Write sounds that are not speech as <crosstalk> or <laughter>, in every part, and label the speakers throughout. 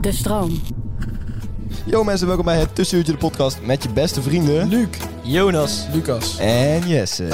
Speaker 1: De stroom.
Speaker 2: Yo mensen, welkom bij het Tussenuurtje de podcast met je beste vrienden... Luc, Jonas
Speaker 3: Lucas.
Speaker 2: en Jesse.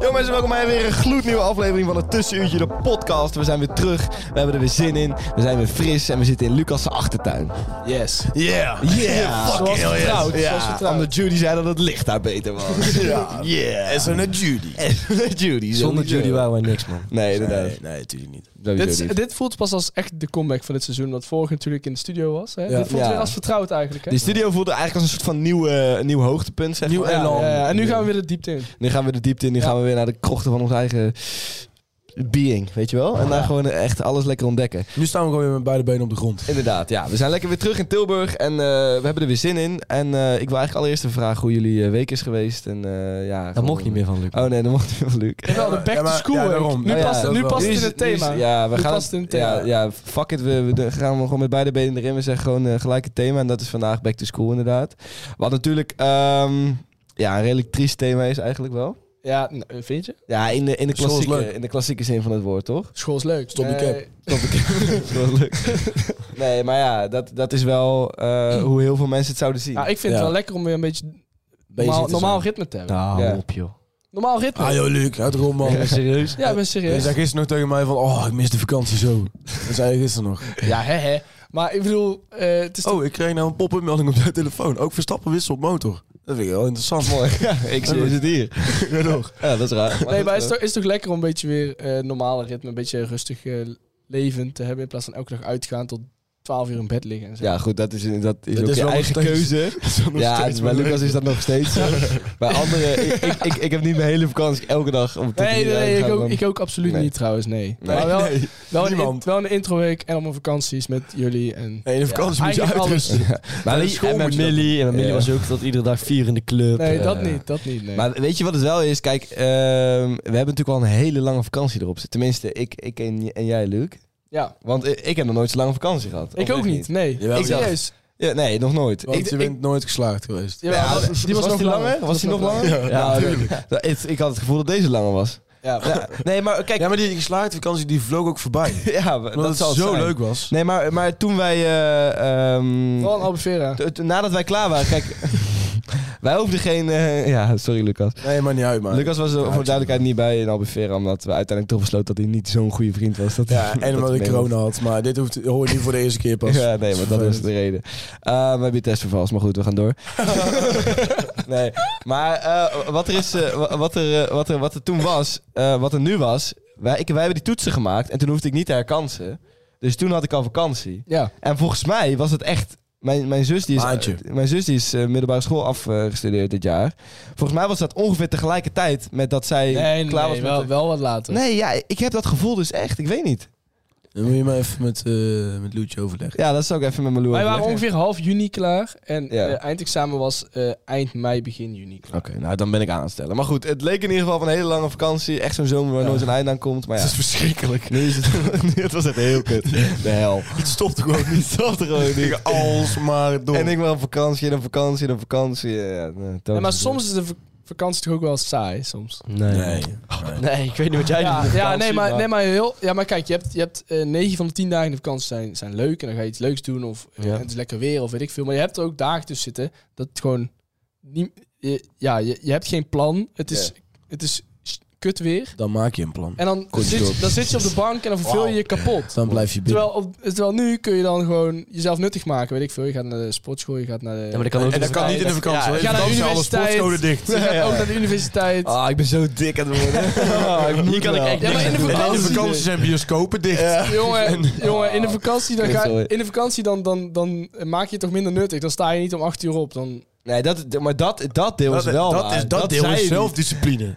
Speaker 2: Yo mensen, welkom bij weer een gloednieuwe aflevering van het Tussenuurtje de podcast. We zijn weer terug, we hebben er weer zin in, we zijn weer fris en we zitten in Lucas' achtertuin.
Speaker 3: Yes.
Speaker 2: Yeah, yeah, fucking
Speaker 3: Zoals
Speaker 2: hell yes.
Speaker 3: vertrouwd, zoals
Speaker 2: Ja,
Speaker 3: vertrouwd.
Speaker 2: Omdat Judy zei dat het licht daar beter was.
Speaker 3: Ja.
Speaker 2: Yeah.
Speaker 3: En zo naar Judy.
Speaker 2: <laughs> En Judy.
Speaker 4: Zonder Judy
Speaker 2: wel.
Speaker 4: waren wij niks, man.
Speaker 2: Nee, inderdaad.
Speaker 3: Nee, nee, natuurlijk niet.
Speaker 2: Sowieso
Speaker 5: Dit, is-
Speaker 2: niet.
Speaker 5: dit voelt pas als echt de comeback van dit seizoen. Want vorige natuurlijk in de studio was. Hè?
Speaker 3: Ja.
Speaker 5: Dit voelt
Speaker 2: Ja.
Speaker 5: weer als vertrouwd eigenlijk. Hè?
Speaker 2: Die studio voelde eigenlijk als een soort van nieuw, eh, nieuw hoogtepunt, zeg
Speaker 3: Nieuw
Speaker 2: maar.
Speaker 3: elan.
Speaker 5: Ja, ja, en nu gaan we weer de diepte in.
Speaker 2: Nu gaan we de diepte in, nu gaan we weer naar de krochten van ons eigen being, weet je wel? En daar gewoon echt alles lekker ontdekken.
Speaker 3: Nu staan we gewoon weer met beide benen op de grond.
Speaker 2: Inderdaad, ja. We zijn lekker weer terug in Tilburg en eh, we hebben er weer zin in. En eh, ik wil eigenlijk allereerst even vragen hoe jullie eh, week is geweest. En, eh, ja,
Speaker 4: Dat
Speaker 2: gewoon-
Speaker 4: mocht niet meer van Luc.
Speaker 2: Oh nee, dat mocht niet meer van Luc.
Speaker 5: En wel de
Speaker 3: maar-
Speaker 5: back
Speaker 3: ja,
Speaker 5: to
Speaker 3: maar-
Speaker 5: school.
Speaker 3: ja,
Speaker 5: hè.
Speaker 3: daarom.
Speaker 5: nu
Speaker 3: Ja,
Speaker 5: past,
Speaker 2: ja,
Speaker 5: nu
Speaker 3: dat
Speaker 5: past
Speaker 2: Nu
Speaker 5: het
Speaker 3: wel.
Speaker 5: in
Speaker 2: is-
Speaker 5: het
Speaker 2: nu is-
Speaker 5: thema.
Speaker 2: Dus Ja, we
Speaker 5: Nu
Speaker 2: gaan,
Speaker 5: past het in het thema.
Speaker 2: Ja, ja, fuck it. We, we de- gaan we gewoon met beide benen erin. We zeggen gewoon eh, gelijk het thema. En dat is vandaag back to school inderdaad. Wat natuurlijk ehm, ja, een redelijk triest thema is eigenlijk wel.
Speaker 5: Ja, nou, vind je?
Speaker 2: Ja, in de, in, de
Speaker 3: School is
Speaker 2: klassieke,
Speaker 3: leuk.
Speaker 2: in de klassieke zin van het woord, toch? Eh,
Speaker 5: School is leuk.
Speaker 3: Stop je
Speaker 5: Nee.
Speaker 3: cap.
Speaker 2: Snap ik. Wel leuk. Nee, maar ja, dat, dat is wel eh, hoe heel veel mensen het zouden zien.
Speaker 5: Nou, ik vind
Speaker 3: Ja.
Speaker 5: het wel lekker om weer een beetje normaal,
Speaker 3: Bezig te
Speaker 5: normaal
Speaker 3: zijn.
Speaker 5: ritme te hebben.
Speaker 4: Nou,
Speaker 2: Ja.
Speaker 4: op, joh.
Speaker 5: Normaal ritme.
Speaker 3: Ah joh, Luc, houd erop man.
Speaker 4: serieus?
Speaker 5: ja, ik ben
Speaker 3: Je
Speaker 5: serieus.
Speaker 3: zei gisteren nog tegen mij van, oh, ik mis de vakantie zo. Dat zei je gisteren nog.
Speaker 5: Ja, hè, hè. Maar ik bedoel, eh, het is toch...
Speaker 3: Oh, ik kreeg nou een pop-up melding op de telefoon. Ook Verstappen wissel op motor. Dat vind ik wel interessant.
Speaker 2: mooi. Ja, ik zie het hier.
Speaker 3: Ja, <laughs> toch?
Speaker 2: Ja, dat is raar.
Speaker 5: Nee, maar het is toch, is toch lekker om een beetje weer eh, normale ritme, een beetje rustig eh, leven te hebben. In plaats van elke dag uitgaan tot 12 uur in bed liggen en zo.
Speaker 2: Ja, goed, dat is, dat is
Speaker 3: Dit
Speaker 2: ook
Speaker 3: is
Speaker 2: je
Speaker 3: wel nog
Speaker 2: eigen
Speaker 3: steeds-
Speaker 2: keuze.
Speaker 3: Dat is wel nog
Speaker 2: Ja,
Speaker 3: steeds
Speaker 2: bij
Speaker 3: wel
Speaker 2: Lucas
Speaker 3: leuk.
Speaker 2: is dat nog steeds zo.
Speaker 5: <laughs>
Speaker 2: Bij anderen, ik, ik, ik, ik heb niet mijn hele vakantie elke dag om tot
Speaker 5: Nee,
Speaker 2: drie
Speaker 5: nee,
Speaker 2: uur
Speaker 5: ik,
Speaker 2: uitgaan,
Speaker 5: ook,
Speaker 2: man.
Speaker 5: ik ook absoluut
Speaker 2: Nee.
Speaker 5: niet trouwens, nee.
Speaker 2: Nee,
Speaker 5: maar wel,
Speaker 3: <laughs> nee.
Speaker 5: wel, een, in-
Speaker 3: niemand.
Speaker 5: wel een introweek en allemaal vakanties met jullie. En,
Speaker 3: Nee, in de vakantie moet je
Speaker 5: eigenlijk
Speaker 3: uitrusten.
Speaker 4: Maar
Speaker 3: de
Speaker 4: die-
Speaker 3: school
Speaker 4: en
Speaker 3: moet
Speaker 4: met
Speaker 3: je dat
Speaker 4: Millie. En met Millie
Speaker 2: Ja.
Speaker 4: was ook tot iedere dag vier in de club.
Speaker 5: nee,
Speaker 4: eh,
Speaker 5: dat niet, dat niet, nee.
Speaker 2: Maar weet je wat het wel is? Kijk, ehm, we hebben natuurlijk al een hele lange vakantie erop zitten. Tenminste, ik, ik en, en jij, Luc.
Speaker 5: ja,
Speaker 2: Want eh, ik heb nog nooit zo lang vakantie gehad.
Speaker 5: ik ook
Speaker 2: Oprecht
Speaker 5: niet, nee.
Speaker 3: Jawel,
Speaker 5: ik
Speaker 3: ja.
Speaker 5: serieus.
Speaker 2: Ja, nee, nog nooit.
Speaker 3: Want
Speaker 2: Ik,
Speaker 3: je
Speaker 2: ik,
Speaker 3: bent nooit geslaagd geweest.
Speaker 5: Jawel,
Speaker 2: Ja,
Speaker 5: die was, nog langer.
Speaker 2: Was die nog langer?
Speaker 3: Ja, natuurlijk.
Speaker 2: oké. Nou, het- ik had het gevoel dat deze langer was.
Speaker 5: Ja. <laughs>
Speaker 2: Ja, nee, maar kijk.
Speaker 3: Ja, maar die geslaagde vakantie die vloog ook voorbij.
Speaker 2: <laughs> Ja,
Speaker 3: Omdat
Speaker 2: dat zal
Speaker 3: het
Speaker 2: het
Speaker 3: zo
Speaker 2: zijn.
Speaker 3: leuk
Speaker 2: <laughs>
Speaker 3: was.
Speaker 2: Nee, maar, maar toen wij... eh, ehm,
Speaker 5: Vooral in Albufeira.
Speaker 2: t- t- nadat wij klaar waren, kijk... <laughs> wij hoefden geen... eh, ja, sorry Lucas.
Speaker 3: Nee, maar niet uit, man.
Speaker 2: Lucas was er
Speaker 3: ik
Speaker 2: voor
Speaker 3: zie
Speaker 2: duidelijkheid niet bij in Albufeira, omdat we uiteindelijk toch besloten dat hij niet zo'n goede vriend was. Dat,
Speaker 3: <laughs>
Speaker 2: <laughs>
Speaker 3: Ja,
Speaker 2: dat
Speaker 3: en omdat
Speaker 2: hij
Speaker 3: ik
Speaker 2: mee
Speaker 3: corona had. Maar dit hoeft, hoor je niet voor de eerste keer
Speaker 2: <laughs>
Speaker 3: pas.
Speaker 2: Ja, nee, maar dat is de reden. Eh, we hebben je test vervals, maar goed, we gaan
Speaker 3: <laughs>
Speaker 2: door. nee, maar eh, wat, er is, eh, wa- wat, er, eh, wat, er, wat er toen was, eh, wat er nu was... Wij, ik, wij hebben die toetsen gemaakt en toen hoefde ik niet te herkansen. Dus toen had ik al vakantie.
Speaker 5: Ja,
Speaker 2: En volgens mij was het echt... Mijn, mijn zus die is,
Speaker 3: Maandje.
Speaker 2: mijn zus die is eh, middelbare school afgestudeerd dit jaar. Volgens mij was dat ongeveer tegelijkertijd met dat zij
Speaker 5: nee,
Speaker 2: klaar was
Speaker 5: nee,
Speaker 2: met...
Speaker 5: wel, eh.
Speaker 2: de-
Speaker 5: wel wat later.
Speaker 2: Nee, ja, ik heb dat gevoel dus echt. Ik weet niet.
Speaker 3: Dan moet je maar even met, eh met Loetje overleggen.
Speaker 2: Ja, dat zou ik even met mijn loer
Speaker 5: Wij waren
Speaker 2: overleggen.
Speaker 5: ongeveer half juni klaar en
Speaker 2: Ja.
Speaker 5: eh, eindexamen was eh, eind mei, begin juni klaar.
Speaker 2: Oké, nou dan ben ik aan het stellen. Maar goed, het leek in ieder geval van een hele lange vakantie. Echt zo'n zomer waar nooit een eind aan komt. Maar ja,
Speaker 5: <laughs>
Speaker 3: Het is verschrikkelijk.
Speaker 2: nu is het, nu- het was echt heel kut. De hel.
Speaker 3: <laughs> Het stopt gewoon niet.
Speaker 2: Dat er gewoon niet.
Speaker 3: Tegen alles maar door.
Speaker 2: En ik wel op vakantie en op vakantie en op vakantie. Ja, ja, nou, nee, telkens
Speaker 5: Nee, maar
Speaker 2: weer.
Speaker 5: soms is de vak- vakantie toch ook wel saai, soms.
Speaker 4: Nee.
Speaker 3: Nee.
Speaker 4: Nee, ik weet niet wat jij
Speaker 5: Ja,
Speaker 4: doet.
Speaker 5: ja nee, maar, nee, maar heel. Ja, maar kijk, je hebt, je hebt eh 9 van de 10 dagen in de vakantie zijn, zijn leuk en dan ga je iets leuks doen of eh,
Speaker 4: Ja.
Speaker 5: het is lekker weer of weet ik veel. Maar je hebt er ook dagen tussen zitten dat het gewoon niet, je, ja, je, je hebt geen plan. Het is, het is s- kut weer.
Speaker 3: Dan maak je een plan.
Speaker 5: En dan
Speaker 3: Kort
Speaker 5: zit,
Speaker 3: door.
Speaker 5: je- dan zit je op de bank en dan verveel je je kapot.
Speaker 3: Dan blijf je binnen.
Speaker 5: Terwijl, op, terwijl nu kun je dan gewoon jezelf nuttig maken. Weet ik veel. Je gaat naar de sportschool, je gaat naar de...
Speaker 4: maar dat kan ook
Speaker 3: en dat kan niet in de vakantie. hoor.
Speaker 5: Ja,
Speaker 3: In
Speaker 5: naar de
Speaker 3: vakantie zijn alle
Speaker 5: universiteit.
Speaker 3: sportscholen
Speaker 5: <laughs>
Speaker 3: dicht.
Speaker 5: Je gaat ook naar
Speaker 4: <laughs>
Speaker 5: de universiteit.
Speaker 2: Ah, ik ben zo dik aan het worden. Ah, ik
Speaker 4: Hier kan ik echt
Speaker 5: Ja, maar
Speaker 4: niks
Speaker 5: in de
Speaker 3: En in
Speaker 4: aan doen.
Speaker 3: de
Speaker 5: vakantie-
Speaker 3: vakantie zijn bioscopen dicht.
Speaker 5: Jongen, jongen, in de vakantie, dan
Speaker 2: Oké,
Speaker 5: ga,
Speaker 2: sorry.
Speaker 5: in de vakantie dan, dan, dan maak je het toch minder nuttig. Dan sta je niet om acht uur op. Dan,
Speaker 2: Nee, dat, maar dat, dat deel
Speaker 3: Dat,
Speaker 2: is wel
Speaker 3: dat,
Speaker 2: waar.
Speaker 3: is, dat, deel
Speaker 2: zei
Speaker 3: is
Speaker 2: je niet.
Speaker 3: zelfdiscipline.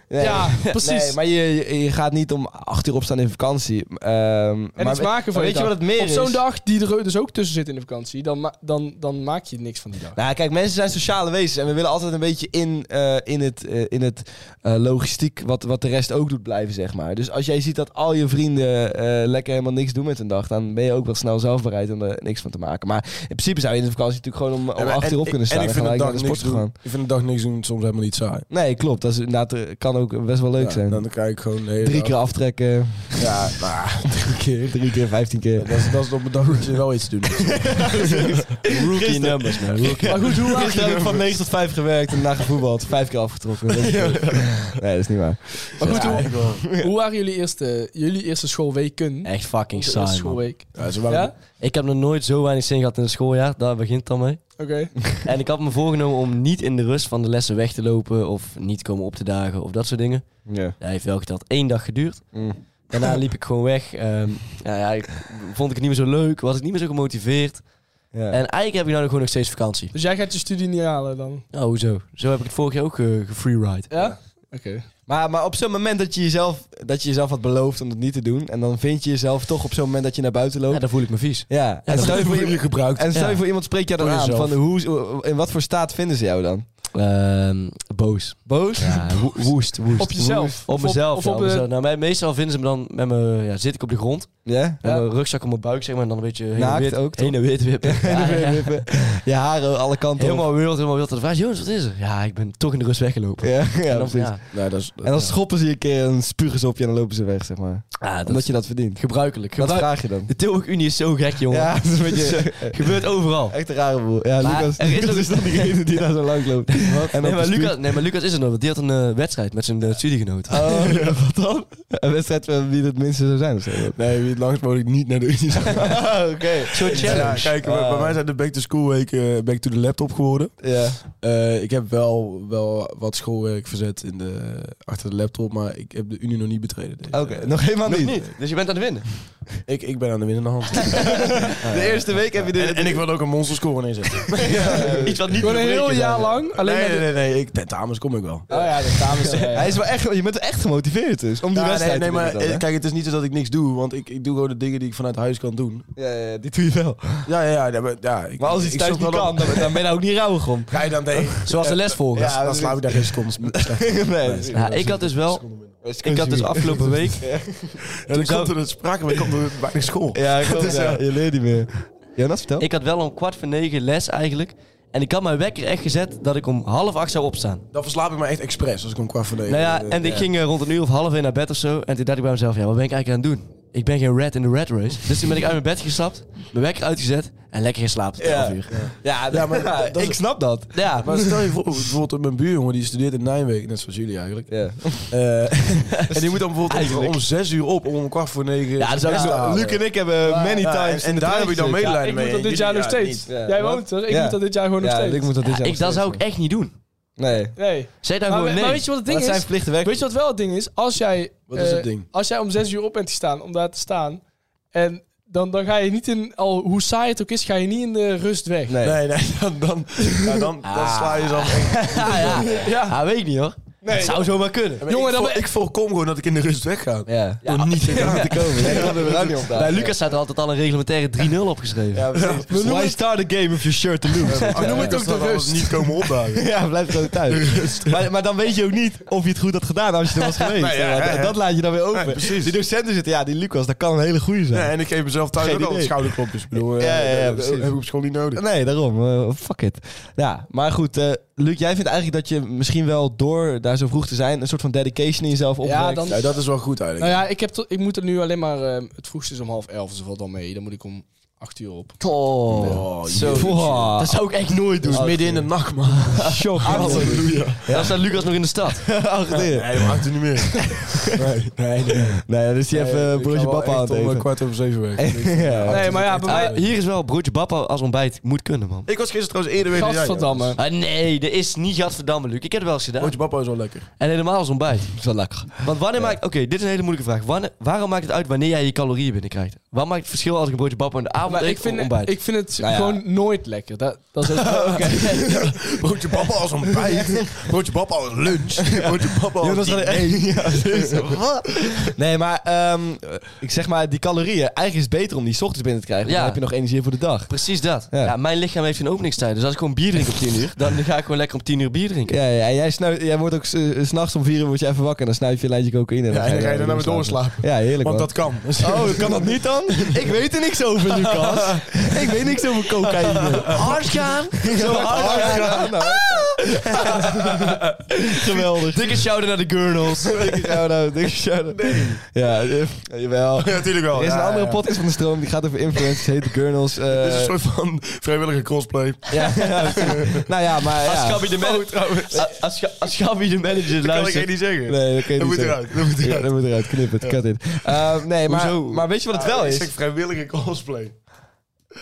Speaker 2: <laughs> Nee.
Speaker 5: Ja, precies.
Speaker 2: Nee, maar je, je- je gaat niet om acht uur opstaan in vakantie. Ehm,
Speaker 5: en
Speaker 2: maar
Speaker 5: iets
Speaker 2: we-
Speaker 5: maken van
Speaker 2: maar
Speaker 5: je
Speaker 2: Weet je
Speaker 5: dag.
Speaker 2: wat het meer
Speaker 5: Op
Speaker 2: is?
Speaker 5: zo'n dag, die er dus ook tussen zit in de vakantie, dan, ma- dan, dan maak je niks van die dag.
Speaker 2: Nou, kijk, mensen zijn sociale wezens en we willen altijd een beetje in, eh, in het, eh, in het eh, logistiek wat, wat de rest ook doet blijven, zeg maar. Dus als jij ziet dat al je vrienden eh, lekker helemaal niks doen met hun dag, dan ben je ook wel snel zelf bereid om er niks van te maken. Maar in principe zou je in de vakantie natuurlijk gewoon om, om
Speaker 3: En-
Speaker 2: acht uur op
Speaker 3: en-
Speaker 2: kunnen staan
Speaker 3: En
Speaker 2: en,
Speaker 3: ik vind
Speaker 2: gelijk
Speaker 3: een dag
Speaker 2: naar de sport
Speaker 3: niks doen.
Speaker 2: gaan.
Speaker 3: Ik vind een dag niks doen soms helemaal niet saai.
Speaker 2: Nee, klopt. Dat is inderdaad, eh, kan ook best wel leuk
Speaker 3: Ja,
Speaker 2: zijn.
Speaker 3: Dan kijk ik gewoon de hele
Speaker 2: Drie
Speaker 3: dag.
Speaker 2: keer
Speaker 3: <laughs>
Speaker 2: aftrekken,
Speaker 3: Ja, nou, drie keer.
Speaker 2: drie keer, vijftien keer.
Speaker 3: Dat is, dat is op een dag dat je wel iets
Speaker 4: <laughs>
Speaker 3: doet.
Speaker 4: Rookie numbers, man.
Speaker 2: Maar goed, <laughs> hoe Gisteren heb ik van 9 tot 5 gewerkt en na gevoetbald. Vijf keer afgetrokken.
Speaker 3: <laughs>
Speaker 2: Dat is- Nee, dat is niet waar.
Speaker 5: Maar goed, hoe,
Speaker 3: wel.
Speaker 5: hoe waren jullie eerste, jullie eerste schoolweken?
Speaker 4: Echt
Speaker 5: De
Speaker 4: fucking
Speaker 5: eerste
Speaker 4: saai, man.
Speaker 5: schoolweek.
Speaker 3: Ja, ze waren,
Speaker 5: Ja?
Speaker 4: Ik heb nog nooit zo weinig zin gehad in het schooljaar. Daar begint het dan mee.
Speaker 5: Oké.
Speaker 4: En ik had me voorgenomen om niet in de rust van de lessen weg te lopen. Of niet komen op te dagen of dat soort dingen.
Speaker 2: Ja.
Speaker 4: Dat heeft wel geteld één dag geduurd.
Speaker 2: Mm.
Speaker 3: <laughs>
Speaker 4: Daarna liep ik gewoon weg. Ehm, nou ja, ik, vond ik het niet meer zo leuk. Was ik niet meer zo gemotiveerd.
Speaker 2: Ja.
Speaker 4: En eigenlijk heb ik nou gewoon nog steeds vakantie.
Speaker 5: Dus jij gaat je studie niet halen dan?
Speaker 4: Oh, hoezo? Zo heb ik het vorig jaar ook eh, gefreeride.
Speaker 5: Ja? Oké.
Speaker 2: Maar, maar op zo'n moment dat je, jezelf, dat je jezelf had beloofd om dat niet te doen... en dan vind je jezelf toch op zo'n moment dat je naar buiten
Speaker 4: Ja,
Speaker 2: loopt...
Speaker 4: dan voel ik me vies.
Speaker 2: Ja, en
Speaker 4: dat
Speaker 2: stel je voor,
Speaker 3: je
Speaker 2: iemand-
Speaker 3: gebruikt.
Speaker 2: en stel je
Speaker 4: Ja.
Speaker 2: voor iemand spreekt jou dan
Speaker 3: Voor
Speaker 2: aan
Speaker 3: jezelf.
Speaker 2: van hoe, in wat voor staat vinden ze jou dan?
Speaker 4: Ehm, boos.
Speaker 2: Boos?
Speaker 4: Ja, wo- woest, woest.
Speaker 5: Op jezelf.
Speaker 4: Op mezelf,
Speaker 5: Of
Speaker 4: ja,
Speaker 5: op,
Speaker 4: op
Speaker 5: eh,
Speaker 4: mezelf. Nou, mij- meestal vinden ze me dan met mijn... Ja, zit ik op de grond.
Speaker 2: Ja?
Speaker 4: Met
Speaker 5: Ja.
Speaker 4: mijn rugzak op mijn buik, zeg maar. En dan een beetje heen
Speaker 2: Naakt
Speaker 4: en weer,
Speaker 2: ook, toch?
Speaker 4: Heen en
Speaker 2: <laughs>
Speaker 4: weer te wippen. <laughs> Ja, ja.
Speaker 2: Je haren alle kanten op.
Speaker 4: Helemaal wild, helemaal wild. En Dan vraag je, Jonas, wat is er? Ja, ik ben toch in de rust weggelopen.
Speaker 2: Ja, ja,
Speaker 4: En dan-
Speaker 2: precies.
Speaker 4: ja.
Speaker 3: Nee, dat is, dat-
Speaker 2: En dan
Speaker 3: ja.
Speaker 2: schoppen ze je een keer en spugen ze op je en dan lopen ze weg, zeg maar.
Speaker 4: Ah, dat
Speaker 2: Omdat
Speaker 4: is
Speaker 2: je dat verdient.
Speaker 4: gebruikelijk.
Speaker 2: Dat
Speaker 4: Gebruik-
Speaker 2: vraag je dan.
Speaker 4: De Tilburg Unie is zo gek, jongen.
Speaker 2: Ja, dat
Speaker 4: <laughs>
Speaker 2: is een beetje...
Speaker 4: Gebeurt overal.
Speaker 2: Echt een rare boel. Ja,
Speaker 4: Maar
Speaker 2: Lucas,
Speaker 4: er is
Speaker 2: Lucas
Speaker 4: ook-
Speaker 2: is dan degene die daar zo lang loopt. En
Speaker 4: Nee
Speaker 2: dan
Speaker 4: maar, Lucas, nee, maar Lucas is er nog. want Die had een eh, wedstrijd met zijn eh, studiegenoot.
Speaker 2: Oh, ja, wat dan? Een wedstrijd van wie het minste zou zijn. of zo.
Speaker 3: Nee, wie het langst mogelijk niet naar de unie zou.
Speaker 2: Oké.
Speaker 4: Zo'n
Speaker 3: Ja,
Speaker 4: <laughs> challenge.
Speaker 3: kijk, bij- bij mij zijn de back to school weken eh, back to the laptop geworden.
Speaker 2: Ja.
Speaker 3: Eh, ik heb wel, wel wat schoolwerk verzet in de, achter de laptop, maar ik heb de unie nog niet betreden. deze.
Speaker 2: Oké, nog helemaal
Speaker 4: Nog
Speaker 2: niet.
Speaker 4: niet. Dus je bent aan het winnen.
Speaker 3: Ik, ik ben aan de winnende
Speaker 2: <laughs>
Speaker 3: hand.
Speaker 2: De eerste week heb je de...
Speaker 3: en, en ik wil ook een monsterscore
Speaker 2: <laughs>
Speaker 3: neerzetten.
Speaker 4: Iets wat niet
Speaker 5: Gewoon een heel
Speaker 4: verbreken
Speaker 5: jaar
Speaker 4: zijn.
Speaker 5: lang. Alleen
Speaker 3: nee,
Speaker 5: maar
Speaker 3: nee,
Speaker 5: de-
Speaker 3: nee, nee, ik, tentamens kom ik wel.
Speaker 5: Oh ja, de dames. ja, ja.
Speaker 2: Hij is wel echt, je bent echt gemotiveerd dus, om die
Speaker 3: Ja, nee,
Speaker 2: wedstrijd
Speaker 3: nee,
Speaker 2: te
Speaker 3: maar
Speaker 2: winnen dan,
Speaker 3: eh,
Speaker 2: hè?
Speaker 3: kijk, het is niet zo dat ik niks doe, want ik, ik doe gewoon de dingen die ik vanuit huis kan doen.
Speaker 2: Ja, ja, die doe je wel.
Speaker 3: Ja, ja, ja. ja, maar, ja ik,
Speaker 2: Maar als
Speaker 3: ik-
Speaker 2: iets
Speaker 3: ik
Speaker 2: thuis
Speaker 3: zoek
Speaker 2: niet
Speaker 3: wel
Speaker 2: kan,
Speaker 3: op-
Speaker 2: dan, dan ben je daar ook niet rauwig om.
Speaker 3: Ga je dan tegen?
Speaker 4: Zoals de lesvolgers.
Speaker 2: Ja,
Speaker 3: Ja, dan
Speaker 2: dat
Speaker 3: slaap
Speaker 2: is-
Speaker 3: ik daar geen seconds.
Speaker 2: <laughs>
Speaker 3: Ja,
Speaker 2: Nee.
Speaker 4: Ja, ik had dus wel... Ik had dus afgelopen week...
Speaker 3: dan komt er het sprake, maar
Speaker 2: <laughs>
Speaker 3: komt er bij school.
Speaker 2: Ja, klopt,
Speaker 3: Dus,
Speaker 2: ja.
Speaker 3: eh,
Speaker 2: je leert niet meer. Jonas, vertel.
Speaker 4: Ik had wel om kwart voor negen les eigenlijk. En ik had mijn wekker echt gezet dat ik om half acht zou opstaan.
Speaker 3: Dan verslaap ik me echt expres als ik om kwart voor negen.
Speaker 4: Nou ja, en ik
Speaker 3: Ja.
Speaker 4: ging eh, rond een uur of half één naar bed of zo. En toen dacht ik bij mezelf, ja, wat ben ik eigenlijk aan het doen? Ik ben geen rat in de rat race. Dus toen ben ik uit mijn bed gestapt, mijn wekker uitgezet en lekker geslapen tot
Speaker 2: Ja.
Speaker 4: 11 uur.
Speaker 2: Ja,
Speaker 3: maar dat- dat is-
Speaker 2: ik snap dat.
Speaker 4: Ja,
Speaker 3: Maar stel je voor, bijvoorbeeld mijn buurjongen die studeert in Nijmegen, net zoals jullie eigenlijk.
Speaker 2: Ja. <laughs>
Speaker 3: Eh, en die moet dan bijvoorbeeld om,
Speaker 2: Eigenlijk.
Speaker 3: om zes uur op om om kwart voor negen.
Speaker 4: Ja, dat is ook zo.
Speaker 3: halen.
Speaker 2: Luc en ik hebben many
Speaker 3: Ja, en-
Speaker 2: times
Speaker 3: en daar heb je dan
Speaker 2: mee.
Speaker 3: medelijden
Speaker 5: ik
Speaker 3: mee.
Speaker 5: moet dat dit
Speaker 3: Jullie
Speaker 5: jaar nog
Speaker 3: ja,
Speaker 5: steeds.
Speaker 3: niet.
Speaker 2: Ja.
Speaker 5: Jij
Speaker 2: Wat?
Speaker 5: woont er, ik
Speaker 2: Ja.
Speaker 5: moet dat dit jaar gewoon nog
Speaker 2: Ja,
Speaker 5: steeds.
Speaker 2: ik moet dat dit
Speaker 4: Ja,
Speaker 2: jaar
Speaker 4: ik, dat
Speaker 2: nog
Speaker 4: zou ik
Speaker 2: steeds
Speaker 4: echt niet doen.
Speaker 2: doen. Nee.
Speaker 5: Nee.
Speaker 4: Zeg dan
Speaker 5: Maar,
Speaker 4: gewoon
Speaker 5: we- maar
Speaker 4: nee.
Speaker 5: weet je wat het
Speaker 2: Maar
Speaker 5: ding
Speaker 2: dat zijn
Speaker 5: is?
Speaker 2: verplichte werk.
Speaker 5: Weet je wat wel het ding is? Als jij,
Speaker 3: Wat is
Speaker 5: eh,
Speaker 3: het ding?
Speaker 5: Als jij om zes uur op bent te staan, om daar te staan. En dan, dan ga je niet in, al hoe saai het ook is, ga je niet in de rust weg.
Speaker 2: Nee.
Speaker 3: Nee, nee, dan, dan, ja, dan, dan
Speaker 2: Ah. <laughs>
Speaker 3: sla je ze af.
Speaker 4: Ja, ja.
Speaker 5: Ah, Ja.
Speaker 4: ja, weet ik niet hoor. Het zou zomaar kunnen.
Speaker 3: Maar
Speaker 5: Jongen,
Speaker 3: ik,
Speaker 5: dan
Speaker 3: vo-
Speaker 5: ben-
Speaker 3: ik voorkom gewoon dat ik in de rust wegga.
Speaker 2: <laughs> Ja.
Speaker 4: Ja.
Speaker 3: Door niet te komen.
Speaker 2: Nee, dat hadden we er ook niet op
Speaker 4: Bij
Speaker 2: gedaan.
Speaker 4: Lucas staat er altijd al een reglementaire 3-0 opgeschreven. Dus
Speaker 2: Ja, <laughs> precies. Why start a game if your shirt to lose?
Speaker 3: Oh, noem het ook de rust. niet komen
Speaker 2: <laughs>
Speaker 3: opdagen.
Speaker 2: Ja, blijf gewoon
Speaker 4: <laughs>
Speaker 2: thuis. Maar, maar dan weet je ook niet of je het goed had gedaan als je er was geweest.
Speaker 3: Nee, ja,
Speaker 2: Ja,
Speaker 3: ja, ja.
Speaker 2: dat, dat laat je dan weer open.
Speaker 3: Nee, precies.
Speaker 2: Die docenten zitten, ja, die Lucas, dat kan een hele goeie zijn.
Speaker 3: Ja, en ik geef mezelf thuis
Speaker 2: Geen
Speaker 3: ook al
Speaker 2: idee.
Speaker 3: schouderklopjes. Ik
Speaker 2: <laughs>
Speaker 3: bedoel,
Speaker 2: Ja, ja, ja,
Speaker 3: eh, dat
Speaker 2: precies.
Speaker 3: heb ik op school niet nodig.
Speaker 2: Nee, daarom. eh, fuck it. Ja, maar goed. eh, Luc, jij vindt eigenlijk dat je misschien wel door daar zo vroeg te zijn... een soort van dedication in jezelf opwerkt.
Speaker 5: dan-
Speaker 3: Ja, dat is wel goed eigenlijk.
Speaker 5: Nou ja, ik, heb tot- ik moet er nu alleen maar. ehm, het vroegste is om half elf, dus dat valt dan mee. Dan moet ik om acht uur op.
Speaker 4: Oh, zo. Dat zou ik echt nooit doen.
Speaker 3: is midden in de nacht, man.
Speaker 2: Shock.
Speaker 3: Halleluja.
Speaker 4: Dan staat Lucas nog in de stad.
Speaker 2: Ah,
Speaker 3: Nee, dat maakt het niet
Speaker 2: <laughs>
Speaker 3: meer. Nee, nee, nee.
Speaker 2: Nee, dan is hij even
Speaker 3: Ik
Speaker 2: broodje
Speaker 3: ga wel
Speaker 2: papa aan
Speaker 3: echt
Speaker 2: het
Speaker 3: om, eh,
Speaker 2: <laughs> eten.
Speaker 3: kwart over zeven weg.
Speaker 2: Ja.
Speaker 5: Nee, maar ja, bij mij...
Speaker 4: Ah, hier is wel broodje bappa als ontbijt. Moet kunnen, man.
Speaker 3: <laughs> Ik was gisteren trouwens eerder weer
Speaker 5: Gadverdamme.
Speaker 4: Ah, nee, dat is niet Gadverdamme, Luc. Ik heb het wel eens gedaan.
Speaker 3: Broodje papa is wel lekker. <laughs>
Speaker 4: En helemaal als ontbijt.
Speaker 2: Dat is wel lekker.
Speaker 4: Want wanneer maakt... Oké, dit is een hele moeilijke vraag. Wanneer, waarom maakt het uit wanneer jij je calorieën binnenkrijgt? Wat maakt het verschil als ik een broodje bappa in de avond
Speaker 5: Maar
Speaker 4: eet
Speaker 5: ik vind,
Speaker 4: of ontbijt?
Speaker 5: ik vind het
Speaker 2: Nou ja.
Speaker 5: gewoon nooit lekker. Dat, dat is het.
Speaker 3: Broodje papa als ontbijt. Broodje papa als
Speaker 2: <laughs>
Speaker 3: lunch. Broodje papa als <laughs>
Speaker 2: Nee, maar ehm, ik zeg maar, die calorieën, eigenlijk is het beter om die 's ochtends binnen te krijgen. want
Speaker 4: Ja.
Speaker 2: Dan heb je nog energie voor de dag.
Speaker 4: Precies dat. Ja.
Speaker 2: Ja.
Speaker 4: mijn lichaam heeft geen openingstijd. Dus als ik gewoon bier drink om 10 uur, dan ga ik gewoon lekker om 10 uur bier drinken.
Speaker 2: Ja, ja en jij, snuif, jij wordt ook eh, 's s'nachts om vier uur word je even wakker en dan snuif je een lijntje cocaïne.
Speaker 3: Ja, en dan ga je daarna weer
Speaker 2: doorslapen.
Speaker 3: doorslapen.
Speaker 2: Ja, heerlijk
Speaker 3: Want
Speaker 2: man.
Speaker 3: dat <laughs> kan.
Speaker 2: Oh, kan dat niet dan? Ik weet er niks over, Lucas. <laughs> Ik weet niks over
Speaker 3: <laughs> nou.
Speaker 2: cocaïne.
Speaker 4: Hard gaan!
Speaker 2: Zo hard gaan. Geweldig.
Speaker 4: Dikke shout naar de girls.
Speaker 2: Dikke shout-out, dikke shout-out. Ja, eh, jawel.
Speaker 3: Ja, natuurlijk wel.
Speaker 2: Er is
Speaker 3: Oh, Ja,
Speaker 2: een andere
Speaker 3: ja.
Speaker 2: podcast van de stroom, die gaat over influencers, heet de Gurnals. eh,
Speaker 3: Dit is een soort van <laughs> vrijwillige cosplay.
Speaker 2: ja, ja, nou ja, maar
Speaker 4: Als
Speaker 2: ja.
Speaker 4: Gabi de manager... Als, Ga- als Gabi de manager
Speaker 3: Dat kan ik echt
Speaker 4: luistert...
Speaker 3: niet zeggen.
Speaker 2: Nee, dat kan je
Speaker 3: dat
Speaker 2: niet
Speaker 3: moet
Speaker 2: zeggen.
Speaker 3: eruit. Dat moet
Speaker 2: Ja,
Speaker 3: eruit.
Speaker 2: dat moet eruit, knip het, cut it. Eh, nee, maar,
Speaker 4: Hoezo?
Speaker 2: maar weet je wat het wel
Speaker 3: Ah, Ik
Speaker 2: is?
Speaker 3: zeg vrijwillige cosplay.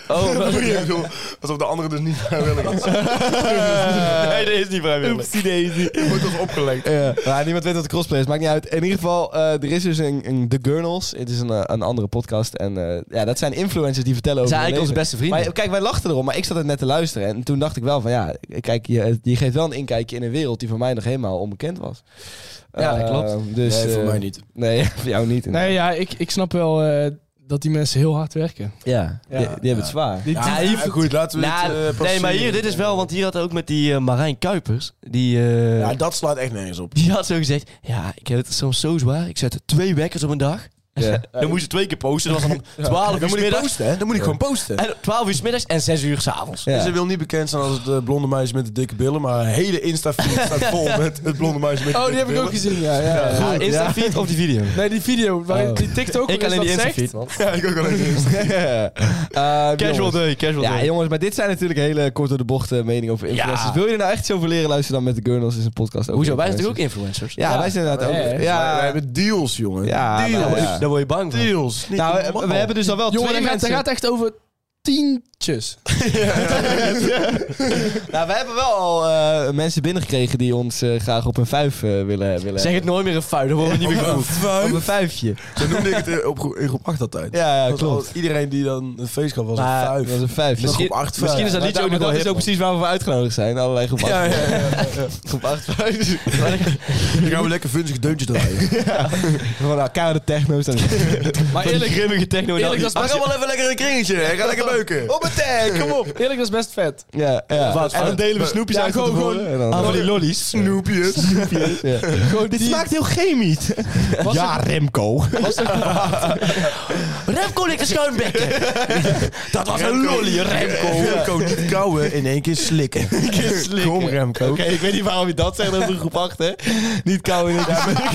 Speaker 4: Oh,
Speaker 3: <laughs> Dat moet je even doen. Alsof de andere dus niet <laughs> vrijwillig
Speaker 2: <laughs>
Speaker 3: is.
Speaker 4: <laughs> nee, dat is niet vrijwillig.
Speaker 2: Oepsie daisy.
Speaker 3: Je dus wordt ons opgelegd.
Speaker 2: Ja, maar niemand weet wat de crossplay is, maakt niet uit. In ieder geval, eh, er is dus een, een The Gurnals. Het is een, eh, een andere podcast. En eh, ja, dat zijn influencers die vertellen
Speaker 4: Dat
Speaker 2: over
Speaker 4: zijn eigenlijk
Speaker 2: hun
Speaker 4: onze
Speaker 2: leven.
Speaker 4: beste vrienden.
Speaker 2: Maar kijk, wij lachten erom, maar ik zat het net te luisteren. En toen dacht ik wel van ja, kijk, je, eh, je geeft wel een inkijkje in een wereld die voor mij nog helemaal onbekend was.
Speaker 4: Ja, dat
Speaker 2: Eh,
Speaker 4: klopt.
Speaker 2: Dus,
Speaker 3: Nee, voor
Speaker 2: eh,
Speaker 3: mij niet.
Speaker 2: Nee, <laughs> voor jou niet.
Speaker 5: Nee, ja, ik, ik snap wel eh, dat die mensen heel hard
Speaker 2: <laughs>
Speaker 5: werken.
Speaker 2: Ja, die, die hebben het zwaar.
Speaker 5: Die-
Speaker 3: Ja,
Speaker 4: die-
Speaker 3: ja, goed, laten we het
Speaker 4: Nou,
Speaker 3: eh,
Speaker 4: nee, maar
Speaker 3: passeren.
Speaker 4: hier, dit is wel, want hier had ook met die eh, Marijn Kuipers. Die, eh,
Speaker 3: Ja, dat slaat echt nergens op.
Speaker 4: die had zo gezegd: Ja, ik heb het soms zo zwaar. Ik zet twee wekkers op een dag. <laughs>
Speaker 2: Ja.
Speaker 4: Dan moest je twee keer posten. Dat was <laughs> dan om 12 uur 's middags.
Speaker 3: hè? Dan moet ik gewoon posten.
Speaker 4: En 12 uur 's middags en 6 uur 's avonds.
Speaker 2: Ja.
Speaker 3: Ze wil niet bekend zijn als het eh, blonde meisje met de dikke billen, maar haar hele Insta-feed staat vol met het blonde meisje met de
Speaker 5: Oh, die
Speaker 3: dikke
Speaker 5: heb ik
Speaker 3: billen.
Speaker 5: ook gezien, ja. ja, ja.
Speaker 4: Ja, Insta feed of die video.
Speaker 5: <laughs> Nee, die video, waar
Speaker 2: Oh.
Speaker 5: die TikTok
Speaker 4: Ik alleen
Speaker 5: dat
Speaker 4: die Insta
Speaker 5: zegt.
Speaker 4: feed, man.
Speaker 3: Ja, ik ook al even gezien.
Speaker 2: Eh,
Speaker 4: Casual dus,
Speaker 2: jongens.
Speaker 4: day, casual
Speaker 2: Ja,
Speaker 4: day.
Speaker 2: jongens, maar dit zijn natuurlijk hele kort door de bocht eh, meningen over influencers.
Speaker 4: Ja.
Speaker 2: Wil je er nou echt zo over leren, luister dan met de Gurnals. is een podcast over
Speaker 4: Hoezo? Wij zijn
Speaker 2: influencers.
Speaker 4: natuurlijk ook influencers.
Speaker 2: Ja, wij zijn inderdaad
Speaker 5: Ja,
Speaker 2: ook...
Speaker 5: hè?
Speaker 3: Ja, we
Speaker 2: Ja,
Speaker 3: hebben deals, jongen.
Speaker 2: Ja,
Speaker 3: deals.
Speaker 2: maar ja.
Speaker 4: Daar word je bang van.
Speaker 3: Deals. Niet
Speaker 2: nou, eh,
Speaker 3: normaal.
Speaker 2: we hebben dus al wel
Speaker 5: Jongen,
Speaker 2: twee
Speaker 5: daar gaat,
Speaker 2: mensen...
Speaker 5: daar gaat echt over tientjes.
Speaker 2: Nou, we hebben wel al eh, mensen binnengekregen die ons eh, graag op een vijf eh, willen, willen
Speaker 4: Zeg het nou. nooit meer een vuil, dan worden we niet meer
Speaker 3: Op een
Speaker 4: genoemd.
Speaker 2: hebben. Op
Speaker 3: vuil.
Speaker 2: een vijfje.
Speaker 3: Zo noemde ik het eh, op groep- in groep 8 altijd.
Speaker 2: Ja, ja
Speaker 3: Dat was
Speaker 2: klopt.
Speaker 3: al- Iedereen die dan het feest gaf was een
Speaker 2: Maar
Speaker 3: vuif.
Speaker 2: Dat is een vijf.
Speaker 3: Misschien-
Speaker 2: Groep acht,
Speaker 3: misschien
Speaker 2: vijf.
Speaker 4: is dat
Speaker 2: Maar
Speaker 4: liedje ook
Speaker 2: maar
Speaker 4: nog wel
Speaker 2: Dat is
Speaker 4: hip,
Speaker 2: ook
Speaker 4: man.
Speaker 2: precies waar we voor uitgenodigd zijn. Allerlei groep acht.
Speaker 3: Ja,
Speaker 2: <laughs>
Speaker 3: ja, ja.
Speaker 2: Groep acht, <laughs> vijf.
Speaker 3: Dan gaan we lekker funzig deuntje draaien.
Speaker 2: Gewoon nou, koude techno's. Dan...
Speaker 4: Maar eerlijk, grimmige techno. en
Speaker 5: Eerlijk,
Speaker 4: al
Speaker 5: dat
Speaker 4: die-
Speaker 5: is
Speaker 3: Maar
Speaker 5: best,
Speaker 3: ga wel even lekker een kringetje. en Ga lekker beuken.
Speaker 2: Op een tag, kom op.
Speaker 5: eerlijk, dat is best vet.
Speaker 2: Ja, ja.
Speaker 4: Wat?
Speaker 2: en dan delen we snoepjes
Speaker 5: Ja,
Speaker 2: uit
Speaker 5: gewoon-
Speaker 2: van tevoren.
Speaker 5: gewoon-
Speaker 2: En dan-
Speaker 4: Aan van die lollies.
Speaker 3: Snoepjes. <laughs>
Speaker 2: Ja. Dit smaakt heel chemisch.
Speaker 5: Was
Speaker 2: Ja, Remco.
Speaker 4: Remco ligt de
Speaker 2: <laughs>
Speaker 4: schuimbekken. dat was een lolly, Remco.
Speaker 3: Remco, niet kauwen. In één keer slikken. Kom Remco.
Speaker 2: Oké, ik weet niet waarom je dat zegt over groep 8, hè? Niet kou in het <laughs>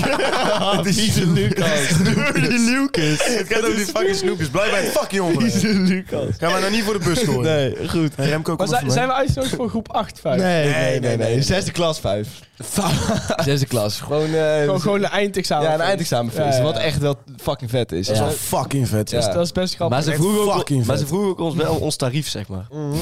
Speaker 2: Ah,
Speaker 3: Het is
Speaker 2: Vieze Lucas.
Speaker 3: Dirty Lucas. Het gaat over die fucking snoepjes. Blijf bij het fucking onder.
Speaker 2: Lucas.
Speaker 3: Ga maar nou niet voor de bus gooien.
Speaker 2: Nee, goed.
Speaker 3: En Remco, kom
Speaker 5: Maar zijn,
Speaker 3: eens
Speaker 5: zijn
Speaker 3: voor
Speaker 5: we uitgenodigd voor groep 8, 5?
Speaker 2: Nee, nee, nee,
Speaker 3: nee, nee.
Speaker 2: nee. Zesde klas, vijf. <laughs> Zesde klas. Gewoon, eh,
Speaker 5: Gewoon, gewoon een eindexamen.
Speaker 2: ja, een eindexamenfeest.
Speaker 5: Ja, ja.
Speaker 2: Wat echt wel fucking vet is.
Speaker 3: mij.
Speaker 2: Ja.
Speaker 3: Dat is wel fucking vet.
Speaker 2: Ja.
Speaker 5: Dat is best grappig.
Speaker 4: Maar ze,
Speaker 3: Echt
Speaker 4: vroegen ook,
Speaker 3: fucking
Speaker 4: maar
Speaker 3: vet.
Speaker 4: ze vroegen ook ons wel ons tarief, zeg maar. En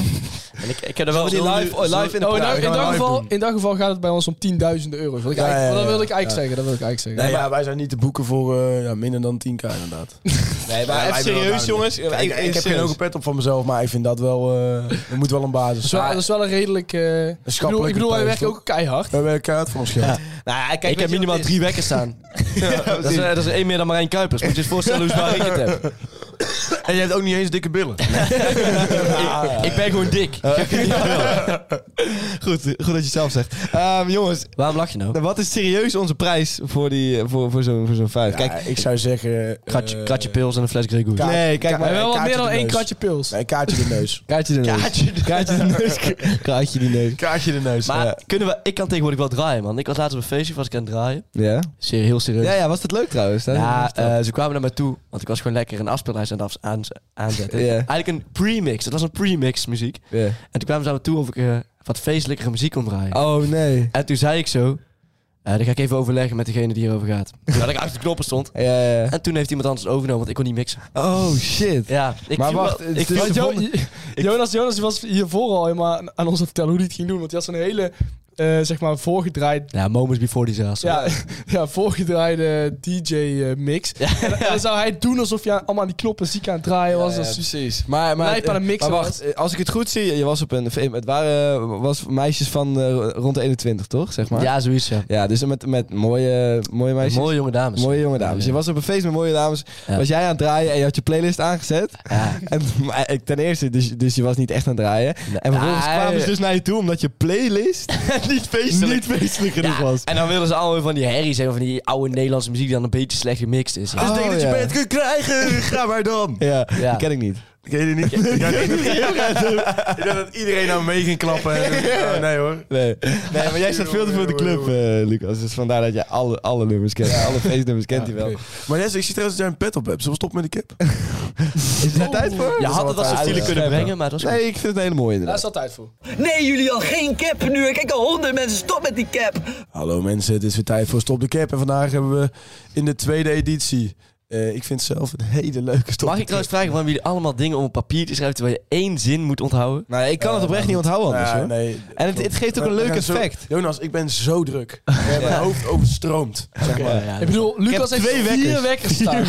Speaker 4: ik, ik heb er wel
Speaker 2: Zullen we die live- oh, live in de
Speaker 5: Oh,
Speaker 2: Ja,
Speaker 5: in,
Speaker 4: nou-
Speaker 5: dat,
Speaker 3: we
Speaker 5: in,
Speaker 3: gaan
Speaker 5: dat
Speaker 3: live
Speaker 5: geval,
Speaker 3: doen.
Speaker 5: in dat geval gaat het bij ons om 10.000 euro's. Wat ik
Speaker 3: Ja,
Speaker 5: eigenlijk-
Speaker 3: ja, ja,
Speaker 5: Dat wilde ik
Speaker 3: ja.
Speaker 5: eigenlijk zeggen. Dat wilde ik eigenlijk
Speaker 3: Nee,
Speaker 5: zeggen.
Speaker 3: ja, wij zijn niet te boeken voor eh, ja, minder dan 10k inderdaad.
Speaker 2: Nee, maar
Speaker 3: Ja,
Speaker 2: even
Speaker 3: wij willen
Speaker 2: serieus,
Speaker 3: wel
Speaker 2: jongens.
Speaker 3: duidelijk. Kijk, ik, heb geen
Speaker 2: serieus.
Speaker 3: hoge pet op van mezelf, maar ik vind dat wel... eh er moet wel een basis
Speaker 5: Dat is wel, dat
Speaker 3: zijn.
Speaker 5: is wel een redelijk... eh, ik bedoel,
Speaker 3: schappelijke
Speaker 5: ik bedoel wij
Speaker 3: prijs,
Speaker 5: werken
Speaker 3: toch?
Speaker 5: ook keihard.
Speaker 3: We hebben een kaart voor ons geld.
Speaker 2: Nou, ja, kijk, weet
Speaker 4: Ik heb
Speaker 2: je wat
Speaker 4: minimaal
Speaker 2: het is?
Speaker 4: drie wekken
Speaker 2: <laughs>
Speaker 4: staan. dat, is, eh, dat is één meer dan Marijn Kuipers. Moet je je eens voorstellen hoe zwaar ik het heb.
Speaker 3: En je hebt ook niet eens dikke billen.
Speaker 4: Ik, ik ben gewoon dik.
Speaker 2: Goed, goed dat je het zelf zegt. Ehm, jongens,
Speaker 4: Waarom lach je nou?
Speaker 2: wat is serieus onze prijs voor, die, voor, voor zo'n voor zo'n vijf?
Speaker 3: Kijk,
Speaker 2: Kijk,
Speaker 3: ik zou zeggen...
Speaker 4: Kratje,
Speaker 3: eh,
Speaker 4: kratje pils en een fles Grey Goose.
Speaker 3: kaart-
Speaker 2: Nee, kijk,
Speaker 3: ka-
Speaker 2: maar
Speaker 5: Maar
Speaker 2: Ja,
Speaker 5: wel wat
Speaker 3: kaartje
Speaker 5: meer dan
Speaker 3: de
Speaker 5: één
Speaker 3: neus.
Speaker 5: kratje pils.
Speaker 3: Nee, kaartje de neus.
Speaker 2: kaartje de neus.
Speaker 4: Kaartje de-
Speaker 2: Kaartje de neus. <laughs> Kaartje de neus.
Speaker 3: Kaartje de neus.
Speaker 4: Maar
Speaker 3: ja.
Speaker 4: kunnen we, ik kan tegenwoordig wel draaien, man. Ik was laatst op een feestje, was ik aan het draaien.
Speaker 2: Ja?
Speaker 4: Serie- Heel serieus.
Speaker 2: Ja, ja, was dat leuk trouwens? Dat-
Speaker 4: Ja, eh, ze kwamen naar mij toe, want ik was gewoon lekker een afspeellijst aan het af- aan aan, aanzetten.
Speaker 2: Ja.
Speaker 4: Eigenlijk een premix. Het was een premix muziek.
Speaker 2: Ja.
Speaker 4: En toen kwamen ze aan me toe of ik eh, wat feestelijkere muziek kon draaien.
Speaker 2: Oh nee.
Speaker 4: En toen zei ik zo, eh dan ga ik even overleggen met degene die hierover <laughs> gaat. Dat ik achter de knoppen stond.
Speaker 2: Ja, ja, ja.
Speaker 4: En toen heeft iemand anders het overgenomen, want ik kon niet mixen.
Speaker 2: Oh shit.
Speaker 4: Ja, ik
Speaker 2: Maar
Speaker 4: viel
Speaker 2: wacht,
Speaker 4: wel-
Speaker 2: het
Speaker 4: ik
Speaker 2: is-
Speaker 4: viel-
Speaker 5: Want Jo-
Speaker 2: vonden-
Speaker 5: Jo- Jonas, Jonas die was hiervoor al helemaal aan- aan ons aan het vertellen hoe hij het ging doen. Want hij had zo'n hele, eh, zeg maar, voorgedraaid...
Speaker 4: Ja, moments before disaster.
Speaker 5: Ja, <laughs> ja, voorgedraaide DJ-mix. En, en dan zou hij doen alsof je aan- allemaal aan die knoppen ziek aan het draaien was. Dat is
Speaker 2: precies. Maar, maar,
Speaker 5: Lijp aan een mix
Speaker 2: maar
Speaker 5: was.
Speaker 2: wacht, eh, als ik het goed zie, je was op een... v- Het waren eh, was meisjes van eh, rond de 21, toch? Zeg maar?
Speaker 4: Ja, zoiets. Ja.
Speaker 2: Ja, dus met, met mooie, mooie meisjes.
Speaker 4: Mooie jonge dames.
Speaker 2: Mooie jonge dames. Je was op een feest met mooie dames.
Speaker 4: Ja.
Speaker 2: Was jij aan het draaien en je had je playlist
Speaker 4: <laughs>
Speaker 2: aangezet.
Speaker 4: Ja.
Speaker 2: En, maar ik- ten eerste, dus, dus je was niet echt aan het draaien. En vervolgens
Speaker 4: Ah,
Speaker 2: kwamen ze
Speaker 4: ja.
Speaker 2: dus naar je toe omdat je playlist
Speaker 4: <laughs> niet
Speaker 2: <laughs> niet feestelijk genoeg
Speaker 4: Ja,
Speaker 2: was.
Speaker 4: En dan willen ze allemaal van die herrie zijn, van die oude Nederlandse muziek die dan een beetje slecht gemixt is. Dus Ja.
Speaker 2: Oh, ja.
Speaker 4: kunt krijgen, ga maar dan.
Speaker 2: Ja,
Speaker 4: Ja.
Speaker 2: die ken ik niet.
Speaker 3: Ken je die niet? Ja, ik denk dat- ik denk dat iedereen nou mee ging klappen. <laughs> En- Oh, nee hoor. <laughs>
Speaker 2: Nee. nee, maar jij staat veel te veel in de club, eh, Lucas. Dus vandaar dat jij alle, alle nummers kent. Alle feestnummers kent hij wel.
Speaker 3: Oké. Maar Jesse, ik zie trouwens dat jij een pet op hebt. Zullen we stoppen met die kip?
Speaker 2: Is het daar tijd voor?
Speaker 4: Je had het als
Speaker 2: Ja,
Speaker 4: subtiele
Speaker 2: dat is
Speaker 4: kunnen
Speaker 2: scherp,
Speaker 4: brengen, maar dat was
Speaker 2: Nee, ik vind het een hele mooie
Speaker 5: Daar is
Speaker 2: inderdaad.
Speaker 5: altijd voor.
Speaker 6: Nee, jullie al geen cap nu. Ik kijk al honderd mensen. Stop met die cap.
Speaker 3: Hallo mensen, het is weer tijd voor Stop de Cap. En vandaag hebben we in de tweede editie. eh, ik vind zelf een hele leuke Stop
Speaker 4: Mag
Speaker 3: de
Speaker 4: ik trouwens vragen waarom jullie allemaal dingen op een papier te schrijven terwijl je één zin moet onthouden?
Speaker 2: Nou, ik kan het oprecht niet onthouden
Speaker 3: Nou
Speaker 2: anders,
Speaker 3: ja,
Speaker 2: hoor.
Speaker 3: nee.
Speaker 2: En het, het geeft ook
Speaker 3: We-
Speaker 2: een
Speaker 3: we
Speaker 2: leuk
Speaker 3: gaan zo-
Speaker 2: effect.
Speaker 3: Jonas, ik ben zo druk. Ja, Mijn hoofd overstroomt. Zeg maar.
Speaker 4: Ja,
Speaker 5: Ik
Speaker 4: <laughs>
Speaker 5: bedoel, Lucas heeft
Speaker 2: twee wekkers.
Speaker 5: vier wekkers staan.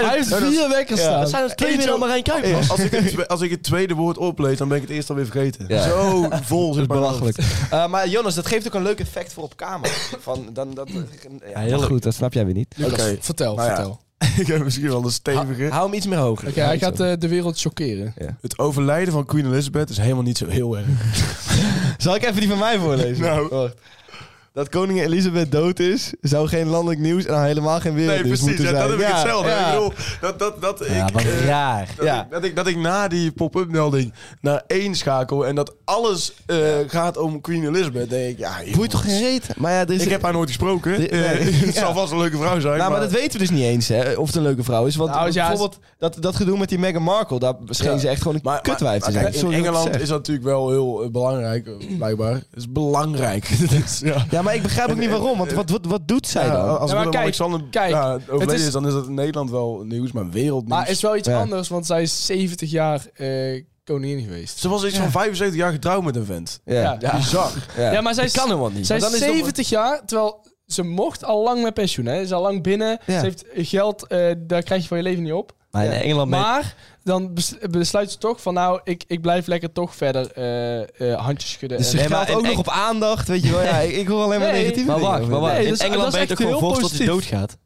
Speaker 5: Hij heeft vier wekkers
Speaker 2: Ja.
Speaker 5: staan.
Speaker 4: Dat zijn er twee
Speaker 3: Eentje
Speaker 4: meer dan
Speaker 3: op-
Speaker 4: Marijn Kuipers.
Speaker 3: Als ik, het, twe- als ik het tweede woord oplees, dan ben ik het eerst alweer vergeten.
Speaker 2: Ja.
Speaker 3: Zo vol zit mijn hoofd. <laughs>
Speaker 2: Belachelijk. Eh, maar Jonas, dat geeft ook een leuk effect voor op kamer. Van, dan, dat, eh, ja,
Speaker 4: heel
Speaker 2: maar
Speaker 4: leuk.
Speaker 2: goed, dat snap jij weer niet.
Speaker 5: Lucas,
Speaker 3: Oké.
Speaker 5: vertel,
Speaker 3: Nou ja.
Speaker 5: vertel. Oké,
Speaker 3: ik heb misschien wel een stevige.
Speaker 2: Hou hem iets meer hoger.
Speaker 5: hij gaat eh, de wereld chockeren.
Speaker 3: Het overlijden van Queen Elizabeth is helemaal niet zo heel erg.
Speaker 2: Zal ik even die van mij voorlezen?
Speaker 3: Nou.
Speaker 2: Wacht. Dat koningin Elisabeth dood is, zou geen landelijk nieuws en al helemaal geen
Speaker 3: Nee,
Speaker 2: wereldnieuws
Speaker 3: precies.
Speaker 2: moeten
Speaker 3: Dus Ja,
Speaker 2: zijn.
Speaker 3: dat heb ik
Speaker 2: Ja,
Speaker 3: hetzelfde.
Speaker 2: ja.
Speaker 3: Ik bedoel, dat, dat, dat ik...
Speaker 4: Ja, wat
Speaker 3: eh,
Speaker 4: raar.
Speaker 3: Dat,
Speaker 2: Ja.
Speaker 3: ik, dat, ik, dat ik na die pop-up melding naar één schakel en dat alles eh, gaat om Queen Elizabeth, denk ik, ja, joh,
Speaker 2: Boeit toch geen reet? Maar ja, er is
Speaker 3: ik heb haar nooit gesproken.
Speaker 2: Dit-
Speaker 3: Eh, <laughs>
Speaker 2: nee.
Speaker 3: het
Speaker 2: Ja.
Speaker 3: zal vast een leuke vrouw zijn.
Speaker 2: Nou, maar dat weten we dus niet eens, hè, of het een leuke vrouw is. Want
Speaker 5: Nou, ja,
Speaker 2: bijvoorbeeld dat, dat gedoe met die Meghan Markle, daar scheen
Speaker 3: Ja.
Speaker 2: ze echt gewoon een
Speaker 3: Maar- maar-
Speaker 2: kutwijf te
Speaker 3: maar
Speaker 2: zijn.
Speaker 3: kijk,
Speaker 2: Sorry
Speaker 3: in
Speaker 2: dat ik het
Speaker 3: Engeland
Speaker 2: zeg.
Speaker 3: is dat natuurlijk wel heel eh, belangrijk, eh, blijkbaar. Het is
Speaker 2: <laughs>
Speaker 3: belangrijk. Dat is, ja.
Speaker 2: Ja, maar ik begrijp ook niet waarom, want wat, wat, wat doet zij
Speaker 3: Ja, oh,
Speaker 2: dan?
Speaker 3: als
Speaker 5: Ja, maar
Speaker 3: Willem-Alexander
Speaker 5: kijk, kijk,
Speaker 3: ja, overleden
Speaker 5: is-
Speaker 3: is, dan is dat in Nederland wel nieuws, maar wereldnieuws.
Speaker 5: Maar is wel iets
Speaker 2: Ja.
Speaker 5: anders, want zij is 70 jaar eh, koningin geweest.
Speaker 3: Ze was iets van 75 jaar getrouwd met een vent.
Speaker 2: Ja,
Speaker 5: Ja.
Speaker 3: Bizar.
Speaker 2: Ja.
Speaker 5: Ja, maar zij is,
Speaker 4: kan helemaal niet.
Speaker 5: zij is
Speaker 2: Maar dan is het
Speaker 5: 70 jaar, terwijl ze mocht al lang met pensioen. Hè. Ze is al lang binnen.
Speaker 2: Ja.
Speaker 5: Ze heeft geld, eh, daar krijg je van je leven niet op.
Speaker 4: Maar in Engeland mee-
Speaker 5: Maar dan bes- besluit ze toch van nou, ik, ik blijf lekker toch verder eh, eh, handjes schudden.
Speaker 2: Dus ze
Speaker 5: en-
Speaker 4: Nee, maar
Speaker 2: geldt
Speaker 4: in
Speaker 2: ook nog
Speaker 4: Eng-
Speaker 2: op aandacht, weet je wel. Ja, ik, ik hoor alleen maar
Speaker 5: Nee,
Speaker 2: negatieve
Speaker 4: Maar
Speaker 2: dingen
Speaker 4: wacht,
Speaker 2: over
Speaker 4: maar wacht.
Speaker 2: dit.
Speaker 5: Nee,
Speaker 4: In
Speaker 5: dat is-
Speaker 4: Engeland
Speaker 5: dat is
Speaker 4: ben je toch
Speaker 5: echt
Speaker 4: gewoon
Speaker 5: heel
Speaker 4: volgens tot je
Speaker 5: positief.
Speaker 4: doodgaat?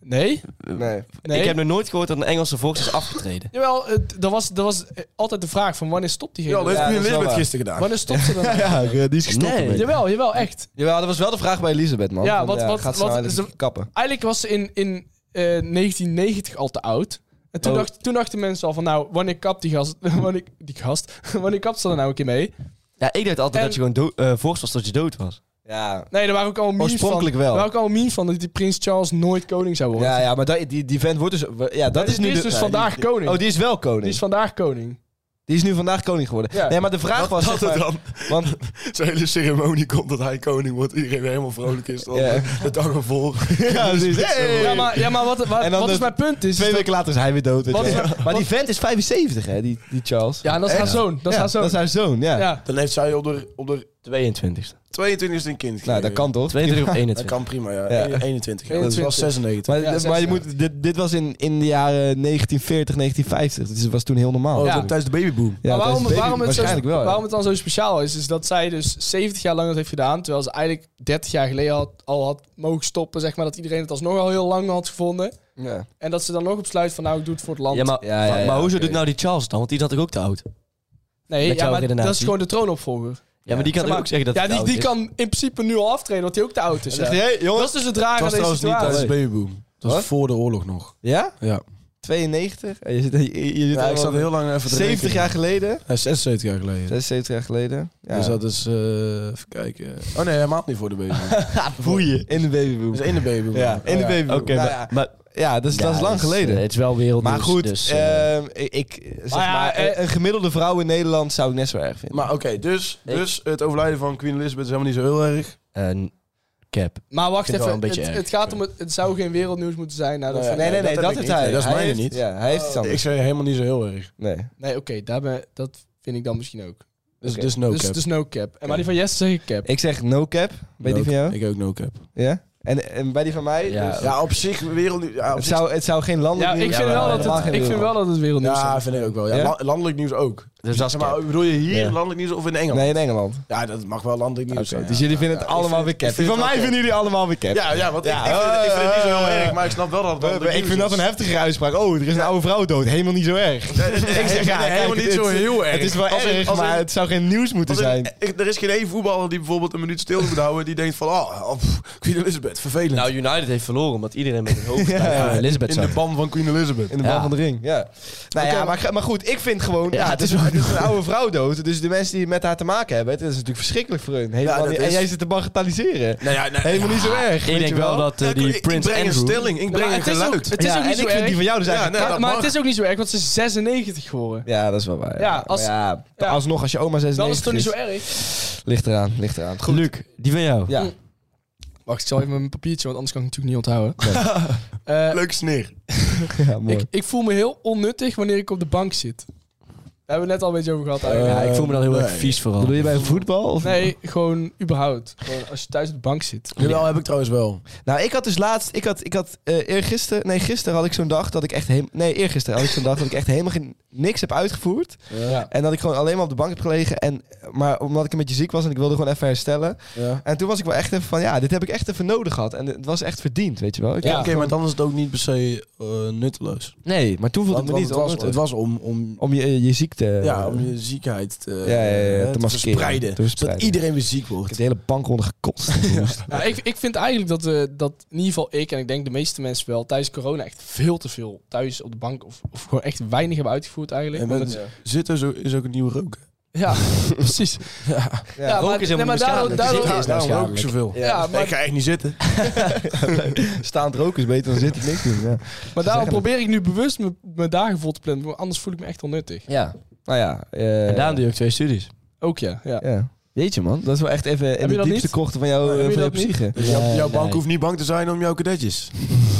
Speaker 5: nee,
Speaker 2: Nee.
Speaker 5: nee.
Speaker 4: Ik heb nog nooit gehoord dat een Engelse volks is afgetreden.
Speaker 5: Jawel, het- er was, er was eh, altijd de vraag van wanneer stopt diegene?
Speaker 3: Ja, dat heeft
Speaker 2: Ja,
Speaker 3: Queen
Speaker 2: dat is wel
Speaker 3: Elizabeth
Speaker 2: waar.
Speaker 3: gisteren gedaan.
Speaker 5: Wanneer stopt ze dan?
Speaker 2: <laughs> Ja, ik, eh, die is gestopt.
Speaker 4: Nee.
Speaker 2: ermee.
Speaker 5: Jawel, jawel, echt.
Speaker 2: Jawel, dat was wel de vraag bij Elisabeth, man.
Speaker 5: Ja,
Speaker 2: Van,
Speaker 5: wat- wat-
Speaker 2: gaat ze
Speaker 5: wat-
Speaker 2: nou eigenlijk
Speaker 5: ze-
Speaker 2: kappen?
Speaker 5: Eigenlijk was ze in, in eh, 1990 al te oud. En toen,
Speaker 2: Oh.
Speaker 5: dacht, toen dachten mensen al van, nou, wanneer kapt die gast, <laughs> wanneer, die gast, <laughs> wanneer kapt ze er nou een keer mee?
Speaker 4: Ja, ik dacht altijd
Speaker 5: En-
Speaker 4: dat je gewoon dood, eh, volks was tot je dood was.
Speaker 2: Ja.
Speaker 5: Nee, daar waren ook al memes
Speaker 2: Oorspronkelijk
Speaker 5: van.
Speaker 2: wel.
Speaker 5: Er waren ook al memes van dat die prins Charles nooit koning zou worden.
Speaker 2: Ja, ja, maar dat, die, die vent wordt dus... Ja, dat
Speaker 5: Die
Speaker 2: is nu
Speaker 5: is
Speaker 2: de-
Speaker 5: dus
Speaker 2: ja,
Speaker 5: vandaag
Speaker 2: die-
Speaker 5: koning.
Speaker 2: Oh, die is wel koning.
Speaker 5: Die is vandaag koning.
Speaker 2: nu vandaag koning geworden.
Speaker 5: Ja.
Speaker 2: Nee, maar de vraag was... zeg maar-
Speaker 3: dan
Speaker 2: want,
Speaker 3: <laughs> zo'n hele ceremonie komt dat hij koning wordt. Iedereen weer helemaal vrolijk is. Dan eh,
Speaker 2: Ja.
Speaker 3: De dag <laughs> ervoor.
Speaker 2: <laughs>
Speaker 3: Dus
Speaker 2: ja, precies. Hey!
Speaker 5: Ja, maar, ja, maar wat, wat,
Speaker 2: En dan
Speaker 5: wat
Speaker 2: de-
Speaker 5: is mijn punt? Is,
Speaker 2: Twee
Speaker 5: is Dus dat-
Speaker 2: weken later is hij weer dood. weet
Speaker 5: Wat
Speaker 2: je
Speaker 5: is
Speaker 2: wel.
Speaker 5: er-
Speaker 2: maar
Speaker 5: wat-
Speaker 2: die vent is 75, hè, die, die Charles.
Speaker 5: Ja, en dat is haar zoon. Dat is
Speaker 2: Ja,
Speaker 5: haar zoon.
Speaker 2: Dat is haar zoon, ja.
Speaker 5: Ja.
Speaker 3: <laughs> Dan heeft zij op de, op de
Speaker 4: 22e.
Speaker 3: 22 e een kind
Speaker 2: Nou, dat
Speaker 3: gekregen.
Speaker 2: kan toch?
Speaker 4: 22 op
Speaker 3: <laughs> Dat
Speaker 4: 21.
Speaker 3: kan prima, ja.
Speaker 2: Ja.
Speaker 3: 21. ja. Dat was
Speaker 5: 21.
Speaker 3: 96.
Speaker 2: Maar,
Speaker 5: Ja,
Speaker 2: maar je
Speaker 5: zes
Speaker 2: moet, dit, dit was in, in de jaren 1940, 1950. Dus het was toen heel normaal.
Speaker 3: Oh,
Speaker 5: Ja.
Speaker 3: dat- tijdens de babyboom.
Speaker 2: Ja,
Speaker 5: maar
Speaker 2: tijdens
Speaker 5: waarom,
Speaker 2: de baby-
Speaker 5: waarom, het zo,
Speaker 2: waarschijnlijk wel. ja.
Speaker 5: waarom het dan zo speciaal is, is dat zij dus 70 jaar lang dat heeft gedaan. Terwijl ze eigenlijk 30 jaar geleden had, al had mogen stoppen, zeg maar. Dat iedereen het alsnog al heel lang had gevonden.
Speaker 2: Ja.
Speaker 5: En dat ze dan nog besluit van, nou, ik doe het voor het land.
Speaker 4: Ja, maar,
Speaker 2: Ja, ja, ja,
Speaker 4: maar hoezo
Speaker 2: oké.
Speaker 4: doet nou die Charles dan? Want die is natuurlijk ook te oud.
Speaker 5: nee,
Speaker 4: met
Speaker 5: ja,
Speaker 4: jouw
Speaker 5: maar
Speaker 4: redenatie.
Speaker 5: dat is gewoon de troonopvolger.
Speaker 4: Ja, maar die kan
Speaker 5: Zeg maar-
Speaker 4: ook zeggen dat
Speaker 5: ja,
Speaker 4: hij te
Speaker 5: die,
Speaker 4: oud
Speaker 5: die
Speaker 4: is.
Speaker 5: kan in principe nu al aftreden, want hij ook te oud is.
Speaker 2: Zegt
Speaker 5: ja.
Speaker 2: hij, hey, jongens.
Speaker 5: Dat is dus het rare
Speaker 3: Dat
Speaker 5: aan
Speaker 3: was
Speaker 5: deze
Speaker 3: trouwens niet
Speaker 5: situatie.
Speaker 3: tijdens de
Speaker 2: Nee.
Speaker 3: babyboom. Dat
Speaker 2: Wat?
Speaker 3: was voor de oorlog nog.
Speaker 2: Ja?
Speaker 3: Ja.
Speaker 2: 92? En je zit, je, je zit
Speaker 3: Ja, ik
Speaker 2: allemaal-
Speaker 3: zat heel lang even te
Speaker 2: 70
Speaker 3: denken.
Speaker 2: jaar geleden?
Speaker 3: Ja, 76 jaar geleden.
Speaker 2: 76 jaar geleden? Ja.
Speaker 3: Dus
Speaker 2: <laughs>
Speaker 3: dat is, eh, even kijken. Oh <laughs> nee, helemaal niet voor de babyboom.
Speaker 2: In de babyboom.
Speaker 3: Dus in de babyboom.
Speaker 2: Ja, in de babyboom.
Speaker 4: Oké,
Speaker 2: Nou
Speaker 4: maar,
Speaker 2: ja.
Speaker 4: maar
Speaker 2: ja, dat is, dat is lang geleden.
Speaker 4: Het is wel wereldnieuws.
Speaker 2: maar goed,
Speaker 4: dus, eh,
Speaker 2: ehm, ik- ik, zeg
Speaker 5: Maar
Speaker 2: maar
Speaker 5: ja, eh,
Speaker 2: een gemiddelde vrouw in Nederland zou ik net zo erg vinden.
Speaker 3: Maar oké, dus, dus het overlijden van Queen Elizabeth is helemaal niet zo heel erg.
Speaker 4: en cap.
Speaker 5: Maar wacht
Speaker 4: Vind ik
Speaker 5: even,
Speaker 4: wel een
Speaker 5: het,
Speaker 4: beetje erg.
Speaker 5: het gaat om het, het zou geen wereldnieuws moeten zijn. Nou, dat
Speaker 3: Nou ja,
Speaker 5: vind ik-
Speaker 3: nee, dat heb ik niet. Nee, dat is
Speaker 2: Hij
Speaker 3: mijne
Speaker 2: heeft-
Speaker 3: niet.
Speaker 2: Ja, hij heeft iets
Speaker 3: Ik
Speaker 2: anders.
Speaker 3: zei helemaal niet zo heel erg.
Speaker 2: Nee.
Speaker 5: nee, oké, daar ben- dat vind ik dan misschien ook.
Speaker 3: Dus,
Speaker 2: Oké.
Speaker 3: dus no
Speaker 5: dus
Speaker 3: cap.
Speaker 5: het is no cap. En maar die van Jesse zeg ik cap.
Speaker 2: Ik zeg no cap. Bij die
Speaker 3: No
Speaker 2: van jou?
Speaker 3: cap. Ik ook no cap.
Speaker 2: Ja? En, en bij die van mij?
Speaker 4: Ja.
Speaker 2: dus-
Speaker 3: Ja, op zich wereld. Ja, op
Speaker 2: het,
Speaker 3: zich-
Speaker 2: zou, het zou geen landelijk
Speaker 5: ja, ik
Speaker 2: nieuws
Speaker 5: vind,
Speaker 2: zijn.
Speaker 5: wel,
Speaker 2: Helemaal
Speaker 5: dat het,
Speaker 2: geen
Speaker 5: ik vind wel
Speaker 2: wereldnieuws.
Speaker 5: dat het wereldnieuws
Speaker 3: ja,
Speaker 5: is.
Speaker 3: vind ik ook wel. Ja,
Speaker 2: Ja?
Speaker 3: la- landelijk nieuws ook.
Speaker 4: Dus dat is
Speaker 3: Zeg maar,
Speaker 4: cap.
Speaker 3: bedoel je hier
Speaker 4: Ja.
Speaker 3: landelijk nieuws of in Engeland?
Speaker 2: Nee, in Engeland.
Speaker 3: Ja, dat mag wel landelijk nieuws zijn.
Speaker 2: Dus
Speaker 3: ja.
Speaker 2: jullie vinden het
Speaker 3: ja, ik
Speaker 2: allemaal
Speaker 3: vind-
Speaker 2: weer cap.
Speaker 3: ik vind
Speaker 2: Van
Speaker 3: het
Speaker 2: mij
Speaker 3: wel
Speaker 2: vinden jullie allemaal weer cap.
Speaker 3: Ja, ja, want
Speaker 2: Ja,
Speaker 3: ik, ik, vind, ik vind het
Speaker 2: <laughs>
Speaker 3: niet zo heel
Speaker 2: eh,
Speaker 3: erg, maar ik snap wel dat het
Speaker 2: Eh,
Speaker 3: landelijk
Speaker 2: Ik vind
Speaker 3: nieuws
Speaker 2: dat een
Speaker 3: is. <laughs>
Speaker 2: heftige uitspraak. Oh, er is een oude vrouw dood. Helemaal niet zo erg. <laughs> Ik zeg ja,
Speaker 3: Nee,
Speaker 2: kijk,
Speaker 3: helemaal niet
Speaker 2: het-
Speaker 3: zo heel erg.
Speaker 2: Het is wel
Speaker 3: Als in-
Speaker 2: erg,
Speaker 3: als in-
Speaker 2: maar het zou geen nieuws moeten
Speaker 3: Want er-
Speaker 2: zijn.
Speaker 3: ik- er is geen één voetballer die bijvoorbeeld een minuut stil moet houden. Die denkt van, oh, oh, pff, Queen Elizabeth, vervelend.
Speaker 4: Nou, United heeft verloren, omdat iedereen met een
Speaker 2: <laughs>
Speaker 4: hoofd ja, Elizabeth
Speaker 3: in de
Speaker 4: zag.
Speaker 3: ban van Queen Elizabeth.
Speaker 2: In de bal
Speaker 4: Ja.
Speaker 2: van de ring, ja. Nou ja, maar, maar goed, ik vind gewoon... Ja, het is, het is een oude vrouw dood. Dus de mensen die met haar te maken hebben... Het is natuurlijk verschrikkelijk voor hun. Helemaal
Speaker 3: dat
Speaker 2: niet-
Speaker 3: is-
Speaker 2: En jij zit te bagatelliseren.
Speaker 3: Nou ja, nou,
Speaker 2: Helemaal niet zo erg,
Speaker 4: Ik
Speaker 2: weet
Speaker 4: denk
Speaker 2: je
Speaker 4: wel dat eh,
Speaker 3: Ja, ik-
Speaker 4: die
Speaker 3: ik
Speaker 4: Prince
Speaker 3: breng een
Speaker 4: Andrew...
Speaker 3: stelling, ik
Speaker 5: Ja,
Speaker 3: breng
Speaker 5: maar
Speaker 3: een
Speaker 5: het is ook,
Speaker 3: geluid.
Speaker 5: het is
Speaker 2: ja,
Speaker 5: ook niet
Speaker 2: en
Speaker 5: zo
Speaker 2: ik vind
Speaker 5: erg.
Speaker 2: die van jou dus
Speaker 3: Ja,
Speaker 2: eigenlijk...
Speaker 3: nee,
Speaker 5: Maar-
Speaker 3: dat
Speaker 5: maar
Speaker 3: mag.
Speaker 5: het is ook niet zo erg, want ze is 96 geworden.
Speaker 2: Ja, dat is wel waar.
Speaker 5: Ja, als-
Speaker 2: Maar ja,
Speaker 5: ja.
Speaker 2: alsnog als je oma 96
Speaker 5: Dan is het toch niet zo Mm. erg?
Speaker 2: Ligt eraan, ligt eraan. Goed.
Speaker 4: Luc, die van jou.
Speaker 2: Ja.
Speaker 5: Wacht, ik zal even mijn papiertje, want anders kan ik het natuurlijk niet onthouden. <laughs> Eh,
Speaker 3: Leuk sneer.
Speaker 2: <laughs> Ja, mooi.
Speaker 5: ik, ik voel me heel onnuttig wanneer ik op de bank zit. Daar hebben we het net al een beetje over gehad eigenlijk.
Speaker 4: Ja, ik voel me dan heel erg
Speaker 3: nee.
Speaker 4: vies vooral.
Speaker 2: Bedoel je bij voetbal?
Speaker 3: Eh.
Speaker 2: Of?
Speaker 5: Nee, gewoon überhaupt. Gewoon als je thuis op de bank zit.
Speaker 3: Jawel, heb ik trouwens wel.
Speaker 2: Nou, ik had dus laatst... Ik had, ik had eh eergisteren... Nee, gisteren had ik zo'n dag dat ik echt helemaal... Nee, eergisteren had ik zo'n dag dat ik echt helemaal geen, niks heb uitgevoerd.
Speaker 3: Ja.
Speaker 2: En dat ik gewoon alleen maar op de bank heb gelegen. En, maar omdat ik een beetje ziek was en ik wilde gewoon even herstellen.
Speaker 3: ja.
Speaker 2: En toen was ik wel echt even van... Ja, dit heb ik echt even nodig gehad. En het was echt verdiend, weet je wel. Ik
Speaker 3: Oké,
Speaker 2: heb gewoon-
Speaker 3: maar dan is het ook niet per se eh, nutteloos.
Speaker 2: Nee, maar toen voelde
Speaker 3: Want,
Speaker 2: ik me niet
Speaker 3: het, was, het
Speaker 2: onnuttig.
Speaker 3: was om, om,
Speaker 2: Om je, je ziekte...
Speaker 3: ja, om je ziekheid te,
Speaker 2: ja, ja, ja,
Speaker 3: eh,
Speaker 2: te
Speaker 3: te
Speaker 2: maskeren,
Speaker 3: verspreiden.
Speaker 2: te verspreiden.
Speaker 3: Zodat iedereen weer ziek
Speaker 2: Ik heb
Speaker 3: wordt.
Speaker 2: de hele bank <laughs> ondergekotst.
Speaker 5: Nou, ik, ik vind eigenlijk dat, eh, dat in ieder geval ik en ik denk de meeste mensen wel tijdens corona echt veel te veel thuis op de bank of, of gewoon echt weinig hebben uitgevoerd eigenlijk.
Speaker 3: En
Speaker 5: Omdat-
Speaker 3: mensen- Zitten is ook, is ook een nieuwe rook.
Speaker 5: Ja, <laughs> precies.
Speaker 2: Ja,
Speaker 5: maar-
Speaker 4: roken is helemaal
Speaker 5: nee, maar
Speaker 4: niet
Speaker 5: daarom-
Speaker 4: schadelijk.
Speaker 5: daarom-
Speaker 4: Zitten is nou
Speaker 3: daarom rook ik
Speaker 4: schadelijk.
Speaker 3: zoveel.
Speaker 5: Ja, maar-
Speaker 3: ik ga echt niet zitten.
Speaker 2: <laughs> Staand roken is beter dan zitten niks doen. Ja.
Speaker 5: Maar daarom probeer ik nu bewust mijn- mijn dagen vol te plannen, want anders voel ik me echt onnuttig.
Speaker 4: Ja.
Speaker 2: Nou ja. eh,
Speaker 4: En daarom doe je ook twee studies.
Speaker 5: Ook ja, ja.
Speaker 2: ja. Jeetje man, dat is wel echt even in
Speaker 5: je
Speaker 2: de
Speaker 5: dat
Speaker 2: diepste
Speaker 5: niet?
Speaker 2: krochten van, jou,
Speaker 5: Heb je
Speaker 2: eh, van je
Speaker 5: dat niet?
Speaker 2: psyche. <laughs>
Speaker 3: Dus jouw, jouw
Speaker 4: nee.
Speaker 3: bank hoeft niet bang te zijn om jouw kadetjes.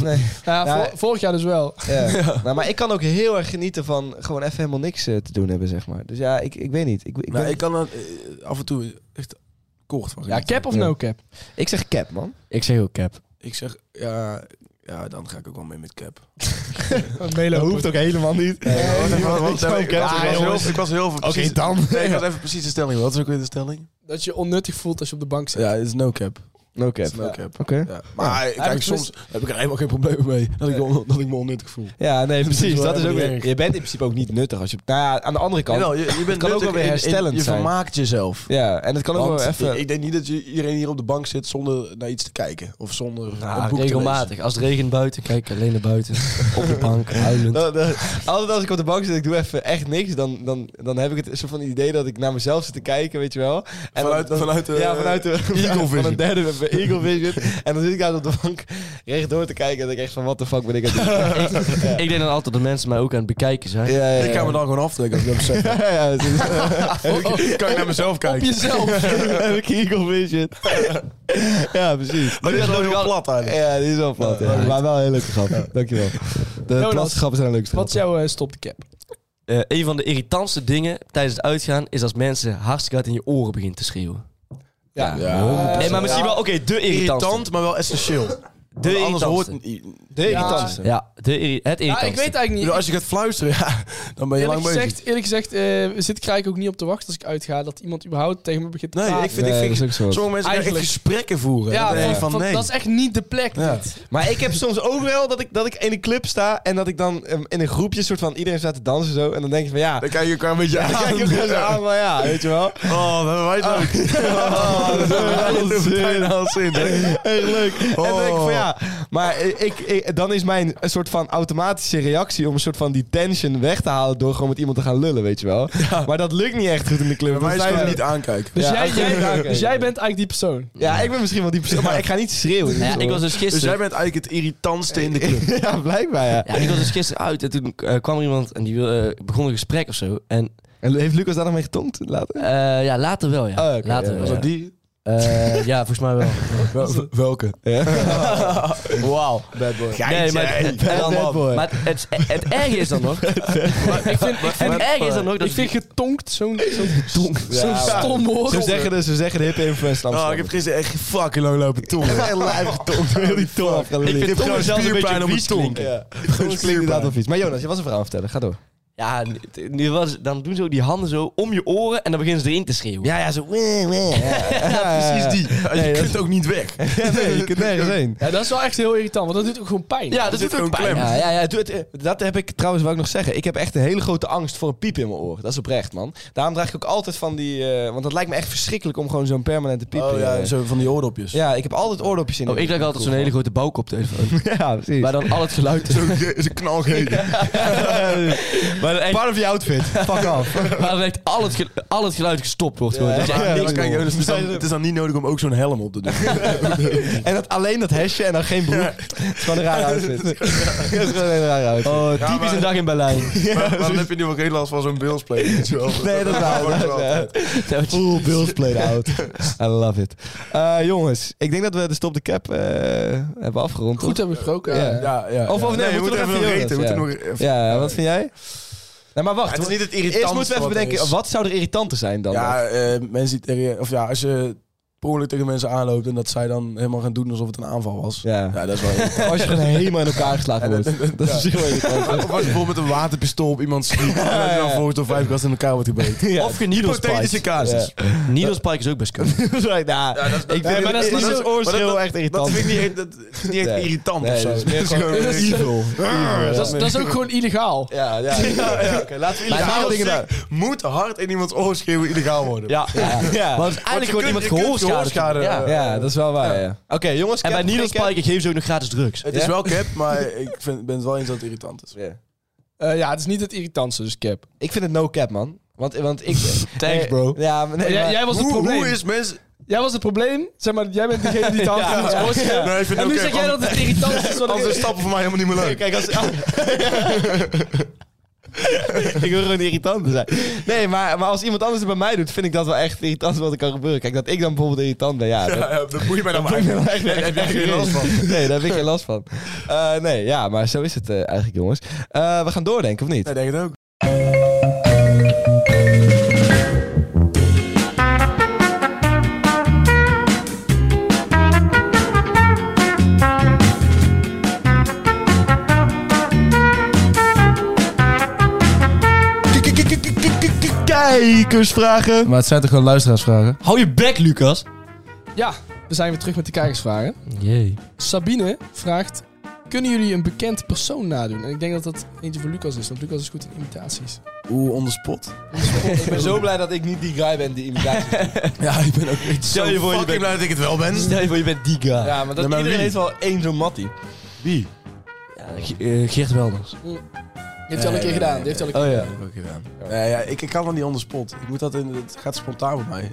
Speaker 2: Nee.
Speaker 5: Nou, ja,
Speaker 2: Ja,
Speaker 5: vor- vorig jaar dus
Speaker 2: <laughs>
Speaker 5: wel.
Speaker 2: Ja. Nou, maar ik kan ook heel erg genieten van gewoon even helemaal niks eh, te doen hebben, zeg maar. Dus ja, ik, ik weet niet. Ik, ik,
Speaker 3: nou,
Speaker 2: ben-
Speaker 3: ik kan er eh, af en toe echt kort van.
Speaker 5: Ja,
Speaker 3: genieten.
Speaker 5: cap of
Speaker 2: Ja.
Speaker 5: no cap?
Speaker 2: ik zeg cap man.
Speaker 4: Ik zeg ook cap.
Speaker 3: Ik zeg, ja, ja, dan ga ik ook wel mee met cap. Oh,
Speaker 2: Dat hoeft ook helemaal niet. Nee,
Speaker 3: Want-
Speaker 2: want-
Speaker 3: want-
Speaker 2: want-
Speaker 3: want-
Speaker 2: want-
Speaker 3: <laughs> ik was
Speaker 2: ah,
Speaker 3: heel-
Speaker 2: jongens.
Speaker 3: Ik was heel veel
Speaker 2: Oké, dan.
Speaker 3: Nee, ik <laughs> had even precies de stelling. Wat is ook weer de stelling?
Speaker 5: Dat je onnuttig voelt als je op de bank zit.
Speaker 3: Ja, het is no cap.
Speaker 2: No
Speaker 3: Het
Speaker 2: cap.
Speaker 3: is no
Speaker 2: Ja.
Speaker 3: cap.
Speaker 2: Oké.
Speaker 3: Ja. Maar
Speaker 5: Heb ik
Speaker 3: kijk, soms heb ik er helemaal geen probleem mee dat ik, me- dat ik me onnuttig voel.
Speaker 2: Ja, nee, precies.
Speaker 3: wel
Speaker 2: Dat is ook
Speaker 3: helemaal
Speaker 2: weer-
Speaker 3: niet
Speaker 2: je bent in principe ook niet nuttig. Als je, nou ja, aan de andere kant.
Speaker 3: Jawel, je, je bent
Speaker 2: kan ook
Speaker 3: nuttig
Speaker 2: wel weer
Speaker 3: in- in-
Speaker 2: herstellend
Speaker 3: Je
Speaker 2: zijn.
Speaker 3: vermaakt jezelf.
Speaker 2: Ja, en het kan ook
Speaker 3: Want
Speaker 2: wel even...
Speaker 3: ik- Ik denk niet dat je iedereen hier op de bank zit zonder naar iets te kijken. Of zonder een boek te lezen.
Speaker 4: Ah, regelmatig. Als het regent buiten, kijk ik alleen naar buiten. op de bank, huilend.
Speaker 2: Dat- dat- altijd als ik op de bank zit, ik doe even echt niks. Dan, dan, dan heb ik het soort van idee dat ik naar mezelf zit te kijken, weet je wel. En
Speaker 3: Vanuit-
Speaker 2: dan, dan-
Speaker 3: vanuit eh, de-
Speaker 2: ja, vanuit de
Speaker 3: Eagle
Speaker 2: <laughs> Van een
Speaker 3: Vision.
Speaker 2: derde met mijn Eagle Vision. En dan zit ik daar op de bank rechtdoor te kijken. En dan denk ik echt van, wat de fuck ben ik aan
Speaker 3: <laughs>
Speaker 2: het doen?
Speaker 4: Ik denk dan altijd dat mensen mij ook aan het bekijken zijn.
Speaker 2: Ja, ja, ja.
Speaker 3: Ik ga me dan gewoon aftrekken als ik dat
Speaker 2: <laughs>
Speaker 3: besef. <laughs>
Speaker 2: Ja, ja, dat is-
Speaker 3: kan ik naar mezelf kijken?
Speaker 4: <laughs>
Speaker 5: Jezelf.
Speaker 2: heb ik Eagle <laughs> Vision. ja, precies.
Speaker 3: Maar dit is gewoon heel plat eigenlijk.
Speaker 2: Ja, die is wel plat. ja.
Speaker 3: Ja.
Speaker 2: Maar wel een hele leuke grap. Dankjewel. De
Speaker 5: Jonas,
Speaker 2: platste grappen zijn de leukste
Speaker 5: Wat is
Speaker 2: grappen.
Speaker 5: jouw eh, stop de cap?
Speaker 4: Eh, een van de irritantste dingen tijdens het uitgaan is als mensen hartstikke hard in je oren beginnen te schreeuwen.
Speaker 5: Ja. Eh,
Speaker 3: Ja.
Speaker 4: Nee, maar misschien wel, oké, de irritantste.
Speaker 3: Irritant, maar wel essentieel.
Speaker 4: De
Speaker 3: Want anders hoort...
Speaker 4: irritantste.
Speaker 2: De irritantste.
Speaker 4: Ja, de irri- het
Speaker 5: Ja,
Speaker 4: irritantste.
Speaker 5: ik weet eigenlijk
Speaker 3: Ik
Speaker 5: niet.
Speaker 3: bedoel, als je gaat fluisteren, ja, <laughs> dan ben je
Speaker 5: Eerlijk
Speaker 3: lang bezig.
Speaker 5: gezegd, eerlijk gezegd eh, zit ik er eigenlijk ook niet op te wachten als ik uitga dat iemand überhaupt tegen me begint te
Speaker 3: Nee,
Speaker 5: praten.
Speaker 3: ik vind, ik
Speaker 2: Nee,
Speaker 3: vind
Speaker 2: dat is ook zo.
Speaker 3: sommige mensen gaan echt
Speaker 5: Ah, Eigenlijk-
Speaker 3: gesprekken voeren.
Speaker 5: ja,
Speaker 3: Ja,
Speaker 5: van-
Speaker 3: van,
Speaker 5: van,
Speaker 3: nee.
Speaker 5: dat is echt niet de plek.
Speaker 3: Ja.
Speaker 5: Niet.
Speaker 2: Maar ik heb soms ook wel dat ik, dat ik in een club sta en dat ik dan ehm, in een groepje soort van iedereen staat te dansen zo. En dan denk je van ja,
Speaker 3: <laughs> Dan kijk je elkaar een beetje aan.
Speaker 2: dan kijk je ook wel zo aan van ja, weet je <laughs> wel.
Speaker 3: Oh, dat hebben wij het
Speaker 2: <laughs>
Speaker 3: leuk.
Speaker 2: Oh, dat is wel
Speaker 3: Dat
Speaker 2: heel
Speaker 3: is
Speaker 2: zin.
Speaker 3: bijna al zin. hè.
Speaker 2: Echt leuk. En dan denk ik van ja, maar ik, ik, ik, dan is mijn een soort van automatische reactie om een soort van die tension weg te halen door gewoon met iemand te gaan lullen, weet je wel. Maar dat lukt niet echt goed in de club.
Speaker 3: Bij mij is
Speaker 2: want zij-
Speaker 3: gewoon niet aankijken.
Speaker 5: Dus,
Speaker 2: Ja,
Speaker 5: jij,
Speaker 2: oké,
Speaker 5: jij-
Speaker 2: oké.
Speaker 5: dus jij bent eigenlijk die persoon.
Speaker 2: Ja, ik ben misschien wel die persoon, maar ik ga niet schreeuwen.
Speaker 4: Nou ja, ik was dus
Speaker 3: Dus jij
Speaker 4: gisteren...
Speaker 3: bent eigenlijk het irritantste in de <laughs> club.
Speaker 2: <laughs> ja, blijkbaar ja.
Speaker 4: Ja, ik was dus gisteren uit en toen eh, kwam er iemand en die wilde- eh, begon een gesprek of zo. En
Speaker 2: En heeft Lucas daar nog mee getonkt later?
Speaker 4: eh, ja, later wel, ja.
Speaker 2: Oh, oké,
Speaker 4: later
Speaker 2: ja.
Speaker 4: wel,
Speaker 3: Was
Speaker 4: ja.
Speaker 3: dat die?
Speaker 4: Eh, ja, volgens mij wel.
Speaker 3: Wel- Welke?
Speaker 4: Wauw.
Speaker 3: Bad boy.
Speaker 4: Nee, maar,
Speaker 3: Hey,
Speaker 4: eh,
Speaker 2: bad
Speaker 4: man.
Speaker 2: boy.
Speaker 4: maar het, het, het erge is
Speaker 3: <laughs>
Speaker 4: dan nog...
Speaker 5: Ik vind, ik
Speaker 4: En
Speaker 5: vind,
Speaker 4: het erge is dan nog dat...
Speaker 5: ik vind getonkt zo'n zo'n zo'n
Speaker 2: Ja, maar-
Speaker 5: stom woord.
Speaker 2: Zo zeggen de, zo zeggen de hippe influencers in
Speaker 3: Oh,
Speaker 2: Amsterdam.
Speaker 3: ik heb gisteren echt fucking lang <laughs> lopen tongen.
Speaker 2: echt lijf getonkt. Heel die tong afgelopen.
Speaker 3: Ik heb gewoon spierpijn op mijn tong.
Speaker 2: Ja.
Speaker 3: Gewoon
Speaker 2: inderdaad
Speaker 3: spierpijn.
Speaker 2: of iets. Maar Jonas, je was een verhaal aan het vertellen. Ga door.
Speaker 4: Ja, nu- nu was, dan doen ze ook die handen zo om je oren en dan beginnen ze erin te schreeuwen.
Speaker 2: Ja, ja, zo. wee, wee.
Speaker 3: Precies die.
Speaker 2: Nee,
Speaker 3: Je
Speaker 2: dat
Speaker 3: kunt ook niet weg.
Speaker 2: Ja, <laughs> nee, je kunt nergens heen.
Speaker 5: Ja, dat is wel echt heel irritant, want dat doet ook gewoon pijn.
Speaker 4: Ja,
Speaker 3: dat
Speaker 4: doet
Speaker 3: zit
Speaker 4: ook
Speaker 3: gewoon
Speaker 4: pijn.
Speaker 3: klem.
Speaker 2: Ja, ja, ja, doe het, eh, dat heb ik trouwens, wou ik nog zeggen. Ik heb echt een hele grote angst voor een piep in mijn oor. Dat is oprecht, man. Daarom draag ik ook altijd van die... eh, want dat lijkt me echt verschrikkelijk om gewoon zo'n permanente piep...
Speaker 3: Oh ja,
Speaker 2: eh,
Speaker 3: zo van die oordopjes.
Speaker 2: ja, ik heb altijd oordopjes in.
Speaker 4: Oh, ik dacht altijd zo'n hele grote bouwkoptelefoon.
Speaker 2: <laughs> Ja, precies.
Speaker 4: Waar dan al het geluid is.
Speaker 3: <laughs>
Speaker 4: <laughs>
Speaker 3: Ze <laughs> knalgeven.
Speaker 4: Waar dan echt,
Speaker 2: Part of je outfit. Fuck off.
Speaker 4: waar dan echt al, het ge- al het geluid gestopt wordt. gewoon.
Speaker 2: Ja,
Speaker 4: Dat je echt
Speaker 2: ja,
Speaker 4: niks
Speaker 2: dat
Speaker 4: meer
Speaker 2: kan
Speaker 3: Kijk,
Speaker 2: ik
Speaker 4: hoort.
Speaker 3: Jonas, het is dan- het is dan niet nodig om ook zo'n helm op te <laughs> doen.
Speaker 2: En dat, alleen dat hesje en dan geen broek. Het is gewoon een raar outfit. <laughs> Het is gewoon een raar outfit.
Speaker 4: Oh, typisch
Speaker 3: maar-
Speaker 4: een dag in Berlijn.
Speaker 3: Maar maar dan heb je nu wel geen last van zo'n bilsplay. weet je wel.
Speaker 2: <laughs> Nee, dat is waar.
Speaker 3: <laughs> wordt wel altijd.
Speaker 2: Oeh, Bills played out. <laughs> I love it. Eh, jongens, ik denk dat we de stop de cap eh, hebben afgerond.
Speaker 5: Goed hebben besproken.
Speaker 2: Ja.
Speaker 5: ja.
Speaker 3: Ja, ja.
Speaker 2: Of- of nee, we
Speaker 3: we
Speaker 2: moeten
Speaker 3: moeten
Speaker 2: nog
Speaker 3: even
Speaker 2: even
Speaker 3: nog eten. We moeten nog
Speaker 2: Jonas,
Speaker 3: even...
Speaker 2: Ja, wat vind jij? Nou, maar wacht.
Speaker 3: Het is
Speaker 2: want
Speaker 3: niet het
Speaker 2: Eerst
Speaker 3: irritantste
Speaker 2: moeten we even
Speaker 3: wat er
Speaker 2: bedenken,
Speaker 3: is.
Speaker 2: wat zou er irritanter zijn dan? dat?
Speaker 3: Ja, eh, mensen die tegen je- Of ja, als je per ongeluk tegen mensen aanloopt en dat zij dan helemaal gaan doen alsof het een aanval was.
Speaker 2: Ja.
Speaker 3: Ja, dat is wel irritant.
Speaker 2: Als je gewoon helemaal in elkaar geslagen wordt. <laughs> Dat is heel irritant.
Speaker 3: Of als je bijvoorbeeld met een waterpistool op iemand
Speaker 2: <laughs>
Speaker 3: schiet. En dat je dan volgens door vijf gasten in elkaar wordt gebeten.
Speaker 2: Ja.
Speaker 4: Of geniedel
Speaker 3: Hypothetische casus.
Speaker 4: Needle Spike is ook best
Speaker 2: <laughs>
Speaker 4: kunnen.
Speaker 2: Sorry, nou, ik vind
Speaker 5: maar dat is
Speaker 2: het-
Speaker 5: niet
Speaker 2: dat
Speaker 5: zo-
Speaker 2: is oorschreeuw echt
Speaker 3: Dat
Speaker 2: irritant.
Speaker 3: vind ik niet echt, dat is niet echt
Speaker 2: Nee.
Speaker 3: irritant
Speaker 2: Nee,
Speaker 3: of zo.
Speaker 2: dat is meer gewoon-
Speaker 3: gewoon evil.
Speaker 5: Dat, is, dat is ook gewoon illegaal.
Speaker 2: Ja, <laughs> ja. ja, ja, Oké, laten we
Speaker 3: Ja,
Speaker 2: illegale
Speaker 3: als
Speaker 2: dingen doen.
Speaker 3: ik- Moet hard in iemands oor schreeuwen illegaal worden.
Speaker 4: Ja. ja.
Speaker 2: Ja.
Speaker 4: Want het is
Speaker 3: Want
Speaker 4: eigenlijk
Speaker 3: je
Speaker 4: gewoon
Speaker 3: kunt-
Speaker 4: iemand
Speaker 3: je kunt
Speaker 4: gehoorschade.
Speaker 3: gehoorschade,
Speaker 4: Ja.
Speaker 3: eh,
Speaker 2: Ja, dat is wel waar, ja. Oké, jongens.
Speaker 4: En
Speaker 2: cap
Speaker 4: bij
Speaker 2: of
Speaker 4: Needle
Speaker 2: geen cap?
Speaker 4: Spike geven ze ook nog gratis drugs.
Speaker 3: Het
Speaker 2: Ja?
Speaker 3: is wel cap, maar ik vind, ben het wel eens dat het irritant is.
Speaker 2: Ja.
Speaker 5: Eh, ja, het is niet het irritantste, dus cap.
Speaker 2: Ik vind het no cap, man. Want, want <laughs> ik...
Speaker 4: Thanks,
Speaker 2: eh,
Speaker 4: bro.
Speaker 2: Ja, maar nee,
Speaker 5: jij,
Speaker 2: maar-
Speaker 5: jij was het
Speaker 3: Hoe,
Speaker 5: probleem.
Speaker 3: hoe is mensen...
Speaker 5: Jij was het probleem. Zeg maar, jij bent degene die
Speaker 2: <laughs>
Speaker 5: het hard moet voorstellen.
Speaker 3: Nee, ik vind
Speaker 5: En nu
Speaker 3: ook
Speaker 5: zeg
Speaker 3: cap.
Speaker 5: jij dat het irritant is. wat er
Speaker 3: Anders is
Speaker 5: is.
Speaker 3: stappen voor mij helemaal niet meer leuk.
Speaker 2: Kijk, als... <laughs> ik wil gewoon irritant zijn. Nee, maar, maar als iemand anders het bij mij doet, vind ik dat wel echt irritant wat er kan gebeuren. Kijk, dat ik dan bijvoorbeeld irritant ben, ja. dat-
Speaker 3: <laughs> Ja, ja, dat moet je mij dan maar
Speaker 2: ik ben echt-
Speaker 3: Heb jij geen last van?
Speaker 2: <laughs> Nee, daar heb ik geen last van. Eh, nee, ja, maar zo is het eh, eigenlijk, jongens. Eh, we gaan doordenken, of niet?
Speaker 3: Nee, denk het ook.
Speaker 2: Kijkersvragen.
Speaker 3: Maar het zijn toch gewoon luisteraarsvragen?
Speaker 4: Hou je bek, Lucas.
Speaker 5: Ja, we zijn weer terug met de kijkersvragen.
Speaker 4: Jee.
Speaker 5: Sabine vraagt... Kunnen jullie een bekend persoon nadoen? En ik denk dat dat eentje voor Lucas is, want Lucas is goed in imitaties.
Speaker 3: Oeh, on the spot.
Speaker 2: Ik ben zo blij dat ik niet die guy ben die imitatie
Speaker 3: Ja, ik ben ook echt
Speaker 4: Stel je voor, je
Speaker 3: fucking
Speaker 4: bent-
Speaker 3: blij dat ik het wel ben.
Speaker 4: Stel je voor, je bent die guy. Ja.
Speaker 2: Ja, maar dat
Speaker 3: Ja, maar
Speaker 2: iedereen
Speaker 3: wie?
Speaker 2: heeft wel één zo'n mattie.
Speaker 3: Wie?
Speaker 4: Ge- eh, Geert Welders.
Speaker 5: Die heeft hij al een keer gedaan. Die heeft hij al
Speaker 2: Oh
Speaker 5: een keer
Speaker 2: ja.
Speaker 3: Ja, dat heb ik ook gedaan. Nee, ja, ik, ik kan dan niet on the spot. Ik moet dat in, het gaat spontaan bij mij. <laughs>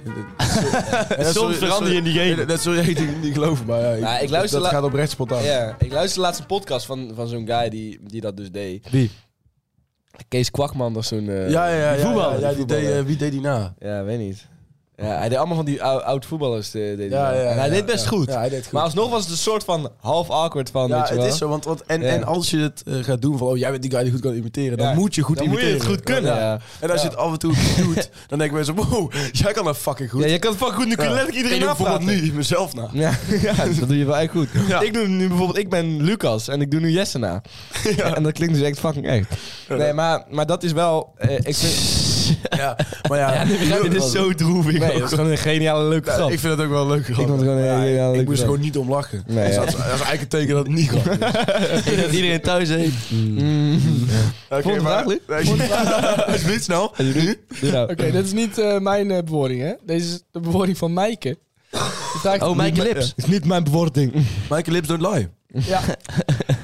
Speaker 4: Soms verander je in die game.
Speaker 3: Dat zul jij niet, niet geloven, maar ja, ik,
Speaker 2: Nou, ik luister
Speaker 3: dat
Speaker 2: la-
Speaker 3: gaat oprecht spontaan.
Speaker 2: Ja, ik luisterde de laatste podcast van, van zo'n guy die, die dat dus deed.
Speaker 4: Wie?
Speaker 2: Kees Kwakman of zo'n... eh,
Speaker 3: Ja, ja, ja. ja,
Speaker 4: voetballer,
Speaker 3: ja,
Speaker 2: die
Speaker 3: die deed,
Speaker 2: voetballer.
Speaker 3: eh, wie deed die na?
Speaker 2: Ja, weet niet. Ja, hij deed allemaal van die ou- oud-voetballers. eh, deed hij
Speaker 3: Ja,
Speaker 2: dat.
Speaker 3: ja,
Speaker 2: en hij
Speaker 3: ja,
Speaker 2: deed best
Speaker 3: ja.
Speaker 2: goed.
Speaker 3: Ja, hij deed goed.
Speaker 2: Maar alsnog was het een soort van half awkward van,
Speaker 3: ja,
Speaker 2: weet je
Speaker 3: het
Speaker 2: wel.
Speaker 3: is zo. Want, want, en,
Speaker 2: Ja.
Speaker 3: en als je het eh, gaat doen van, oh, jij bent die guy die goed kan imiteren, dan
Speaker 2: Ja.
Speaker 3: moet je goed
Speaker 2: Dan moet je
Speaker 3: imiteren.
Speaker 2: het goed kunnen, ja.
Speaker 3: En als je het af en toe
Speaker 2: <laughs>
Speaker 3: doet, dan denken mensen, wow, jij kan dat fucking goed.
Speaker 2: Ja, je kan het fucking goed, nu kun je
Speaker 3: Ja.
Speaker 2: letterlijk
Speaker 3: Ik
Speaker 2: iedereen
Speaker 3: doe
Speaker 2: afpraten.
Speaker 3: bijvoorbeeld nu mezelf nou. na.
Speaker 2: Ja, ja, dat doe je wel echt goed.
Speaker 3: Ja.
Speaker 2: Ik doe nu bijvoorbeeld, ik ben Lucas en ik doe nu Jesse
Speaker 3: <laughs>
Speaker 2: na. En dat klinkt dus echt fucking echt. Nee, maar, maar dat is wel... eh, ik vind...
Speaker 3: Ja, maar ja, Nou,
Speaker 2: dit is zo droevig. Nee, dat is gewoon een geniale leuke grap.
Speaker 3: ik vind het ook wel leuk.
Speaker 2: vond het gewoon een hele leuke
Speaker 3: ik moest
Speaker 2: grap.
Speaker 3: er gewoon niet om lachen.
Speaker 2: Nee,
Speaker 3: Dus
Speaker 2: ja.
Speaker 3: dat, is, dat is eigenlijk een teken dat het niet
Speaker 2: <laughs>
Speaker 3: kan.
Speaker 4: Ik dat iedereen thuis heeft. Oh,
Speaker 2: Mm.
Speaker 3: Oké,
Speaker 2: Volgende
Speaker 3: maar-
Speaker 2: vraag, Luc.
Speaker 3: Nee, <laughs> Alsjeblieft,
Speaker 2: <laughs>
Speaker 3: snel.
Speaker 2: Doe nou.
Speaker 5: Oké, dit is niet eh, mijn eh, bewoording, hè? Deze is de bewoording van Mijke. Die vraagt,
Speaker 4: Oh, mijn clips.
Speaker 2: <laughs> Is niet mijn bewoording.
Speaker 3: Michael Lips don't lie.
Speaker 5: Ja.
Speaker 4: <laughs>